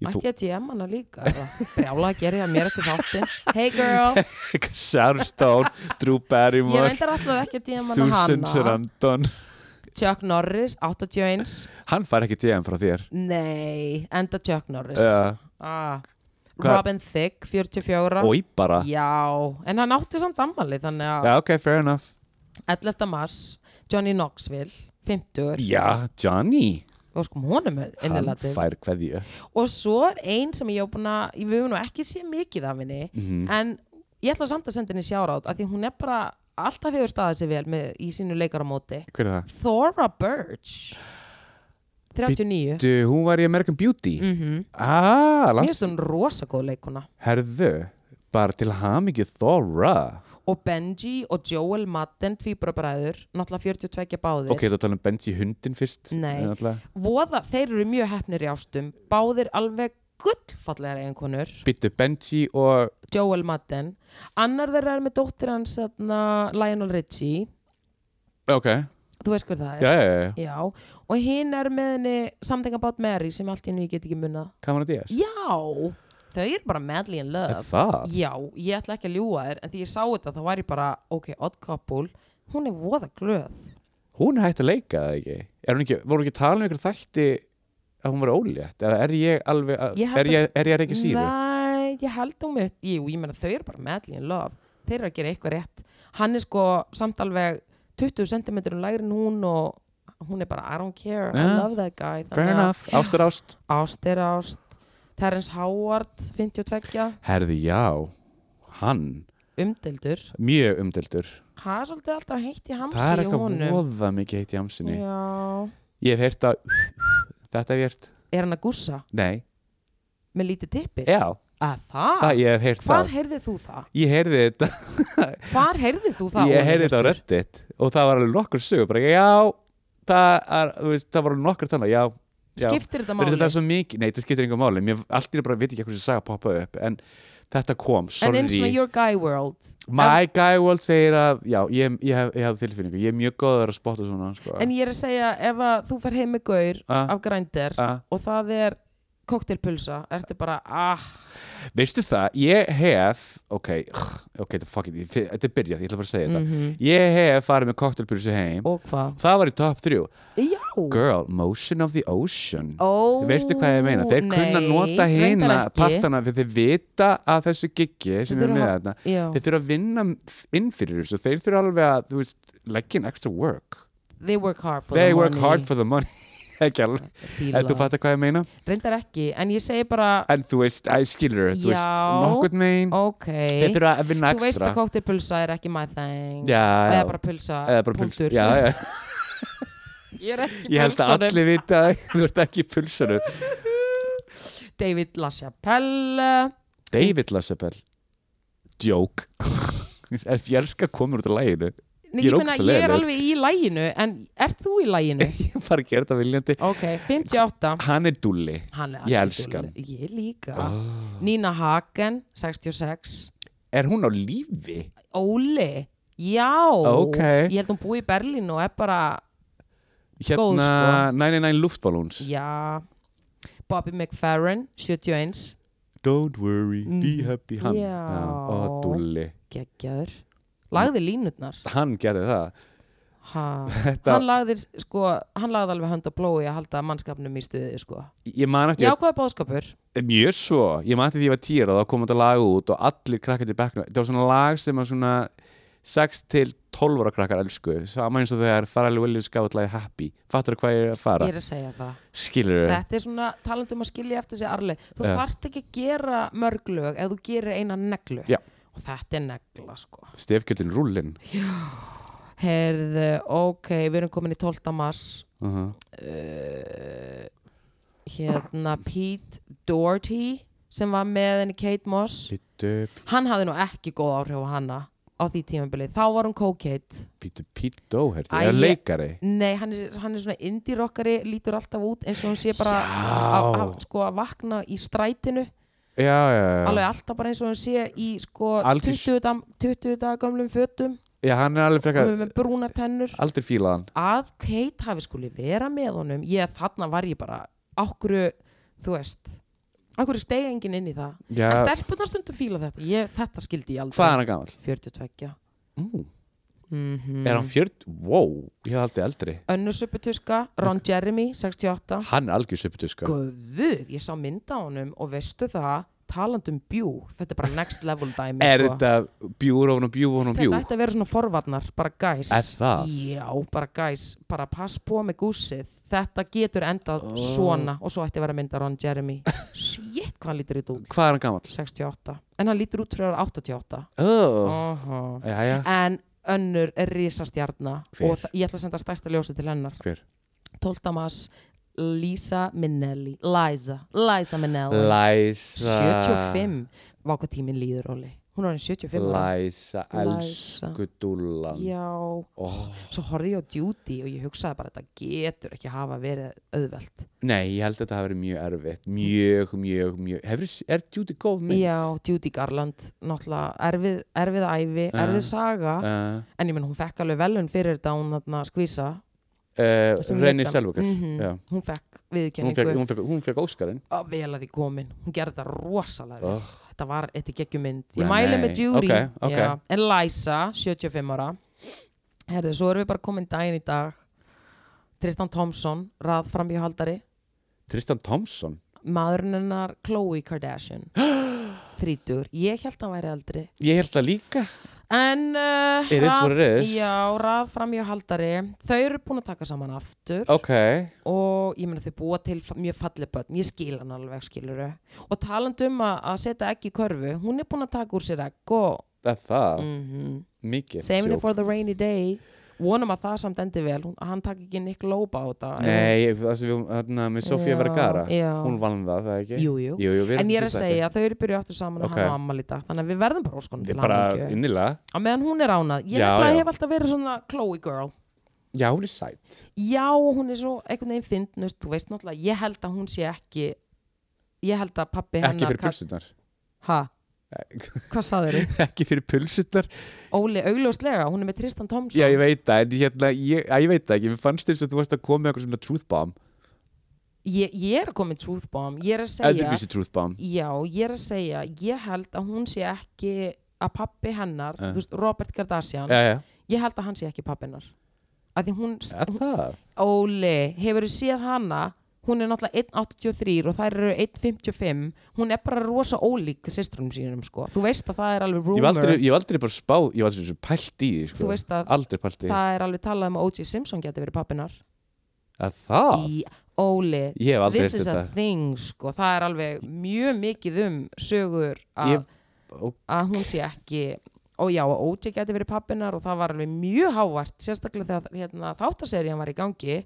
ég ætti ég að DM hana líka eða? brjála að gera ég að mér ekki þáttin hey girl, þó Sharon Stone, Drew ég Barrymore reyndar alltaf ekki að DM hana Susan hana Sarandon Chuck Norris, 81 hann fær ekki DM frá þér nei, enda Chuck Norris uh, ah. Hvað- Robin Thicke, 44 og ég bara Já, en hann átti samt ammali þannig að já, ok, fair enough 11. mars, Johnny Knoxville 50, já, Johnny, og sko honum hann innilega til fær hverju og svo er ein sem ég á búin að við höfum nú ekki sé mikið af henni Mhm. Mm. en ég ætla samt að senda henni sjárátt af því hún er bara, alltaf hefur staðið sér vel með, í sínu leikaramóti hver er það? Thora Birch 39 Du, hún var í American Beauty mm -hmm. ah, Mér langt finnst hún rosa góð leikuna Herðu, bara til hamingju Thora og Benji og Joel Madden tvíbrabræður, náttúrulega 42 báðir Ok, það tala um Benji hundin fyrst Nei. en náttúrulega- voða, þeir eru mjög hefnir í ástum báðir alveg gullfallegar eiginkonur, Býttu Benji og Joel Madden annar þeirra er með dóttir hans þarna, Lionel Richie Ok, þú veist hver það já, er já, já, já. Já, og hinn er með henni Something About Mary sem allt í henni ég get ekki munna Cameron Diaz Já, þau eru bara madly in Er love Það? Já, ég ætla ekki að ljúga þér en því ég sá þetta þá var ég bara, ok, odd couple hún er voða glöð Hún er hægt að leika það ekki, er hún ekki Voru ekki að tala um ykkur þætti að hún var ólétt Eða er ég alveg að, Ég held er, að- ég, er ég að reykja síru? Nei, ég held um mitt Jú, ég meina þau eru bara madly in love Þeir eru að gera eitthvað rétt Hann er sko samt alveg 20 cm lægri en hún og hún er bara I don't care, I Ja, love that guy Fair enough, ást er ást Ást er ást Terence Howard, 52 Herðu, já, hann Umdeldur Mjög umdeldur Hann er svolítið alltaf heitt í hamsi Það er í eitthvað honum voða mikið heitt í hamsinni Já Ég hef heyrt að Þetta hef ég heyrt Er hann að gussa Nei, með lítið tippi? já, Að það? það ég hef heyrt það Hvar heyrðið þú það? Ég heyrði þetta, Hvar heyrðið þú það? ég heyrði þetta á Óliver? Reddit og það var alveg nokkur sögur, bara já, það er, þú veist, það var alveg nokkur þannig, já, já. Skiptir þetta Veistu, máli? þetta er svo mikið, nei, þetta skiptir engum máli, mér allt í einu bara veit ekki hversu saga poppa upp, en þetta kom, En eins og sorry, your guy world my guy world segir að, já, ég, ég, hef, ég hef tilfinningu, ég er mjög góður að spotta svona, sko. En ég er að segja, ef að þú fer heim með gaur Ah, af grændir ah. og það er koktelpulsa, ertu bara, ah, Veistu það, ég hef, ok, ok, fuck it, ég- þetta er byrjað, ég ætla bara að segja þetta, -hmm. ég hef farið með koktelpulsu heim, og hvað? það var í top 3, Já! girl, motion of the ocean. Ó, veistu hvað ég meina, þeir kunna nota hina reyndar ekki. partana fyrir þeir vita að þessu giggi Þeir sem við erum með þurfa- þarna Já, þeir þurfa að vinna inn fyrir þessu þeir þurfa alveg að, þú veist, leggja in extra work they work hard for they the work money hard for the money ekki alveg, Fíla en þú það. fattar hvað ég meina Reyndar ekki, en ég segi bara, en þú veist, I skilur þú veist, Já. nokkurn megin ok þeir þurfa að vinna Þú veist extra að koktelpulsa er ekki my thing já, eða já, bara pulsa, eða bara puls punktur. já, já. Ég er ekki ég held að pulsanum. allir vita að þú ert ekki pulsanu David LaChapelle David Lassabell joke ef ég elska komur út af læginu Nei, Ég er ég, meina, ógeðslega ég er leiðinlegur. alveg í læginu en ert þú í læginu? ég fara að gera þetta viljandi ok, 58 hann er dulli Hann er Ég algjör elska hann. Ah. dúlla. ég líka Nína Hagen, 66 er hún á lífi? Óli, já Ok. ég held hún búi í Berlín og er bara Góð, hérna sko. 99 luftballons já Bobby McFerrin, 71 don't worry, be Mm. happy hann, Já. og dulli geggjaður lagði línutnar hann gerði það ha. Þetta- hann lagði sko, hann lagði alveg hönd og blói að halda mannskapnum í stuði sko. ég man eftir, jákvæða bóðskapur Eh, mjög svo ég man eftir því ég var týra og þá kom þetta lag út og allir krakkar til bekkna, þetta var svona lag sem að svona 6 til 12 ára krakkar elsku, sama eins og þegar Farrell Williams gaf allagi happy, fattur hvað ég er að fara ég er að segja það skilur þau? Þetta er svona talandum að skilja eftir sig arleið. Þú Já. þarft ekki að gera mörg lög ef þú gerir eina neglu. Já. Og þetta er negla, sko. stefkjöldin rúllin Herðu, ok, við erum komin í 12. mars. uh -huh. Uh, hérna Pete Doherty sem var með henni Kate Moss Pítu, hann hafði nú ekki góð áhrif á hana á því tímabilið, þá var hún co-kate pítu, pító, herti, Æ, eða ég- leikari nei, hann er, hann er svona indie rockari lítur alltaf út eins og hún sé bara Já. að, að, sko, að vakna í strætinu Já, já, já, alveg alltaf bara eins og hún sé í sko Algjör- 20 dag, 20 dag gömlum fötum já, hann er alveg frekar og með brúna tennur aldrei fílað hann að Kate hafi skuli vera með honum ég þarna var ég bara okkur, þú veist okkur steig enginn inn í það en Já, stelpunar stundum fíla þetta ég, þetta skildi ég aldrei hvað er hann gamall? 42 Mm. mm Er hann 40? Wow, ég hafði aldrei eldri önnur supputuska, Ron Jeremy 68 Hann er algjör söputuska Guðuð, ég sá mynda á honum og veistu það, talandum bjúg þetta er bara next level dæmi Er sko. þetta bjúr ofan og bjúr ofan og Þetta bjúr? ætti að vera svona forvarnar, bara gæs Er það? Já, bara gæs, bara pass på með gússið Þetta getur endað Ó. svona og svo ætti að vera mynda Ron Jeremy Shit, hvað hann lítur þetta út? Hvað er hann gamall? 68, en hann lítur út fyrir 88 Oh. Aha. Jæja, En önnur er risastjarna Hver? og þa- ég ætla að senda stærsta ljósi til hennar hver? 12. mars, Lisa Minnelli Liza, Liza Minnelli Læsa 75, vá hvað tíminn líður Óli, hún er hann 75 ára. Læsa, elsku dúllan Já, oh. svo horfði ég á Duty og ég hugsaði bara þetta getur ekki hafa verið auðvelt Nei, ég held að þetta hafi verið mjög erfitt Mjög, mjög, mjög Hefur, Er Judy góð mynd? Já, Duty Garland, náttúrulega erfið, erfið ævi, Ja. erfið saga uh, en ég menn hún fekk alveg velun fyrir þetta hún þarna skvísa uh, sem Renni leiddi- Selvökar Mhm. já. hún fekk hún, fekk- viðurkenningu hún, fekk- hún fekk Óskarinn Á, vel að því komin, hún gerði þetta rosalega vel. oh. þetta var eitthvað geggjumynd ég Nei, mæli nei. með Judy Ok, ok. Já. en Liza, 75 ára herðu, svo erum við bara komin daginn í dag Tristan Thompson, raðframhjóhaldari Tristan Thompson maðurinn hennar Khloe Kardashian þrítur, ég held að hann væri eldri Ég held það líka en uh, It is what it rað- is. já, rað framjá haldari þau eru búin að taka saman aftur Ok og ég meina þau búa til fa- mjög fallið börn, ég skil hann alveg skilur og talandi um að, að setja egg í körfu hún er búin að taka úr sér egg og Það er það mm Mikið same djók. for the rainy day vonum að það samt endi vel hún, hann takk ekki Nick Loba á þetta Nei, það sem við hérna með Sofía Já, Vergara já. Hún vann það, það ekki? jú, jú. jú, við erum en ég er að sem sagt segja að þau eru byrjuð aftur saman Ok. og hann á ammali í dag þannig að við verðum bara óskonum Ég til bara hamingju. innilega á meðan hún er ánað ég Já, nefnilega já. hef alltaf verið svona Chloe girl Já, hún er sætt já, hún er svo einhvern veginn fyndnust þú veist náttúrulega, ég held að hún sé ekki ég held að pappi Ekki hennar fyrir pulsunar ha, hvað saður þau? Ekki fyrir pulsunar Óli, augljóslega, hún er með Tristan Thompson Já, ég veit það, en hérna, ég, að, ég veit það ekki Mér fannst þess að þú varst að koma með eitthvað svona truth bomb ég, ég er komið truth bomb ég er að segja, Öðruvísi truth bomb já, ég er að segja ég held að hún sé ekki að pappi hennar, Eh. þú veist, Robert Kardashian Já, já, ég held að hann sé ekki pappi hennar að því hún, er það Óli, hefur þú séð hana? Hún er náttúrulega 1.83 og þær eru 1.55. Hún er bara rosa ólík sýstrunum sínum, sko. Þú veist að það er alveg Ég var rumor. aldrei, ég var aldrei bara spáð, ég var aldrei svona pælt í því, sko. Þú veist að Aldrei pælt í því. það er alveg talað um að O.J. Simpson geti verið pappinar. Að það? Í Óli, Ég hef aldrei this eftir is a þetta. thing, sko. Það er alveg mjög mikið um sögur Ég- að, ó- að hún sé ekki... Og já, að O.J. geti verið pappinar og það var alveg mjög hávært, sérstaklega þegar hérna, þáttaserían var í gangi.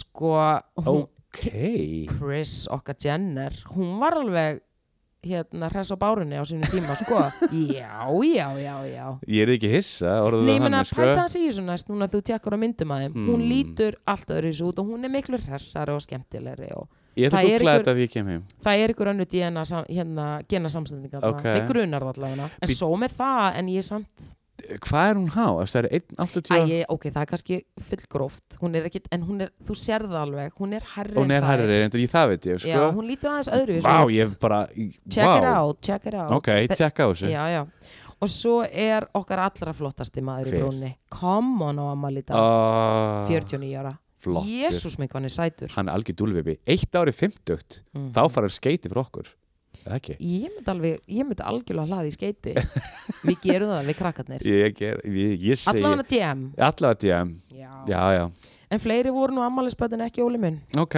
Sko, hún, Ok. Chris okkar Jenner hún var alveg hérna hress á bárunni á sínum tíma sko já, já, já, já Ég er ekki hissa, orðið Nei, það ég meina, hann, sko. pælta hans í þessu næst núna að þú tekur á myndum að þeim hún Hmm. lítur allt öðru þessu út og hún er miklu hressari og skemmtilegri og Ég ætla það að er googla einhver- þetta ef ég kem heim. það er ykkur önnu DNA sam, hérna, genasamsendingar Ok. okay. með grunar það allavega en Bít- svo með það en ég samt Hvað er hún há? Það er Æ, 1.80? ok, það er kannski fullgróft hún er ekkit, en hún er, þú serð alveg hún er herri Hún en er þær. hærri, en ég það veit ég, já, sko. hún lítur aðeins öðru Vá, ég hef bara... check vá. it out, check it out Ok, tjekka á þessu. Já, já. Og svo er okkar allra flottasti maður í Hver? brúnni. Come on á Amal í dag. Ah, 49 ára. Flottur. Jésús mig hvað hann er sætur. Hann er algjör dúlvibi. Eitt árið 50, Mm. þá fara hann skeiti fyrir okkur. Eða Ekki? Ég myndi alveg, ég myndi algjörlega hlaði í skeiti. við gerum það við krakkarnir. Ég, ger, ég, ég segi... Allavega DM. Allavega DM. Já. Já, já. En fleiri voru nú ammælisböðin ekki óli minn. Ok,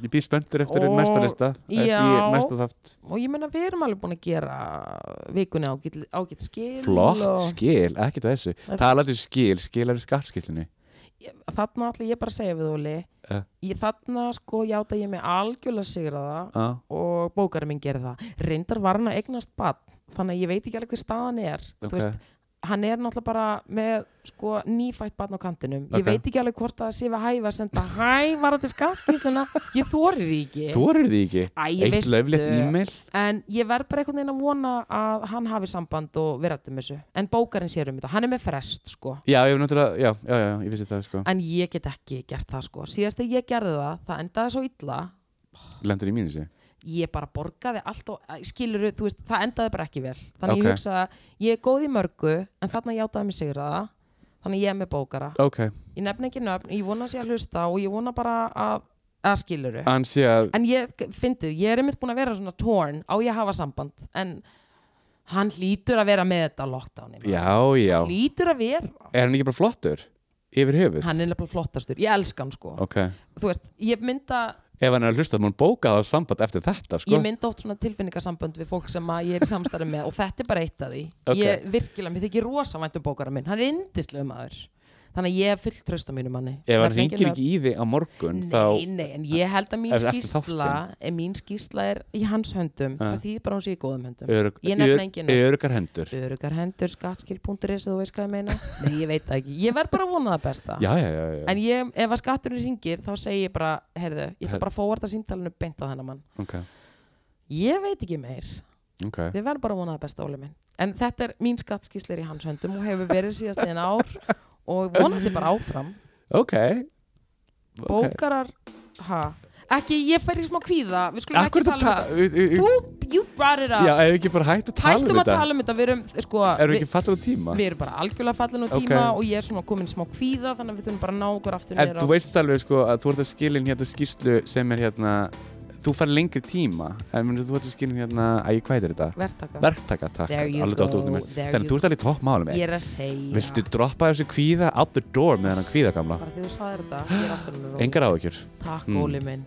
ég býð spenntur eftir Og- næsta lista eftir Já. næsta þátt Og ég meina við erum alveg búin að gera vikunni ágætt, ágætt skil. Flott og- skil, ekkert að þessu Talandi um skil, skil er í skattskilinu ég, þarna ætla ég bara að segja við Óli Eh. ég þarna sko játa ég mig algjörlega sigra það já, og bókarinn minn gerir það reyndar var hann að eignast bad þannig að ég veit ekki alveg hver staðan er Þú ok, veist, hann er náttúrulega bara með sko nýfætt barn á kantinum ég Ok. veit ekki alveg hvort það sé við hæfa að senda hæ, var þetta skattkísluna ég þorir því ekki þú eru því ekki Æ, ég eitt veistu. löflegt e-mail en ég verð bara einhvern veginn að vona að hann hafi samband og við rættum þessu en bókarinn sér um þetta, hann er með frest sko já, ég hef náttúrulega, já, já, já, ég vissi það sko en ég get ekki gert það sko síðast þegar ég gerði það, það endaði svo illa lendur í mínu sig ég bara borgaði allt og skilur þú veist, það endaði bara ekki vel þannig Ok. ég hugsa að ég er góð í mörgu en þarna játaði mig sigraða þannig ég er með bókara ok, ég nefn ekki nöfn, ég vona að sé að hlusta og ég vona bara að, að skilur hann sé að en ég fyndið, ég er einmitt búin að vera svona torn á ég að hafa samband en hann hlýtur að vera með þetta lockdown já, já, hlýtur að vera er hann ekki bara flottur yfir höfuð, hann er nefnilega flottastur, ég elska hann sko ok þú veist, ég mynda ef hann er að hlusta, maður bóka það samband eftir þetta sko, ég mynda oft svona tilfinningasambönd við fólk sem að ég er í samstarfi með og þetta er bara eitt af því Ok. ég virkilega, mér þykir rosa vænt um bókara minn hann er yndislega maður þannig að ég er fullt tröst á mínu manni ef hann Nefni engin ringir nöfn. ekki í þig á morgun Nei, þá, nei, en ég held að mín Ef- eftir skýrsla er, mín skýrsla er í hans höndum Ja. það þýðir bara að hún sé í góðum höndum örug, Ég nefni engin nöfn. örugar hendur já, örugar hendur, skattskil.is þú veist hvað ég meina, nei ég veit það ekki ég verð bara að vona það besta já, já, já, en ég, ef að skatturinn ringir þá segi ég bara, heyrðu, ég ætla bara að fóvarta síntalinu beint á þennan mann, ok, ég veit ekki meir ok við verðum bara að vona það besta Óli minn en þetta er mín skattskíslir í hans höndum og hefur verið síðast einn ár og vonandi bara áfram ok, bókarar, ha ekki, ég fer í smá kvíða við skulum akkur ekki þetta tala um ta- þetta þú, you brought it up já, ef við ekki bara hægt að tala hættum um að þetta tala um þetta við erum, sko, erum við ekki fattur á tíma við erum bara algjörlega fallin á Ok. tíma og ég er svona komin smá kvíða þannig að við þurfum bara að ná okkur aftur en niður þú veist alveg sko að þú ert að skilin hérna skýrslu sem er hérna þú fær lengri tíma en meni, þú ert að skilin hérna að ég hvað er þetta? verktaka verktaka takk There you alveg dótt út um go, mér there þannig you þú ert alveg topp málum ég ég... er að segja viltu droppa þessu kvíða out the door með hennan kvíða gamla bara þegar þú sagðir þetta ég er aftur með róli engar áhyggjur takk Mm. Óli minn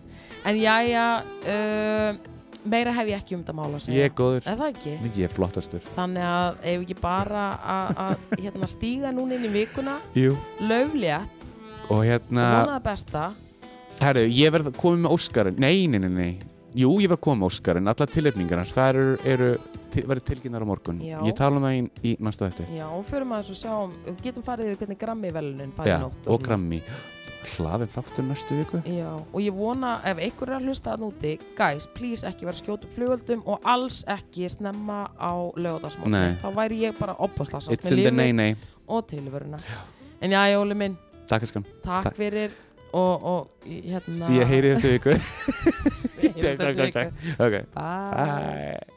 en jæja uh, meira hef ég ekki um þetta mála að segja ég er góður er það ekki ég er flottastur þannig að ef ekki bara að- að hérna, stíga núna inn í vikuna Jú. löflétt og og hérna vona það besta herru ég verð að koma með Óskarinn nei nei nei nei Jú, ég var að koma með Óskarinn, alla tilöfningarnar, það eru, eru til, verið tilkynnar á morgun. Já. Ég tala um það í, í næsta þetta. já, og förum aðeins og sjáum við getum farið yfir hvernig grammi velunin farið Já, í nótt og svona. grammi hlaðið þáttur næstu viku Já, og ég vona ef einhver er að hlusta að núti, guys, please ekki vera að skjóta upp flugöldum og alls ekki snemma á Nei. lögadagsmóti. Þá væri ég bara opasla sátt It's in the nei nei og tilvöruna. En já, Jóli minn, Takk elskan takk Takk. fyrir og, og hérna... Ég heyri þetta viku heyri Takk, takk, þetta takk, líka. takk Ok Bye. Bye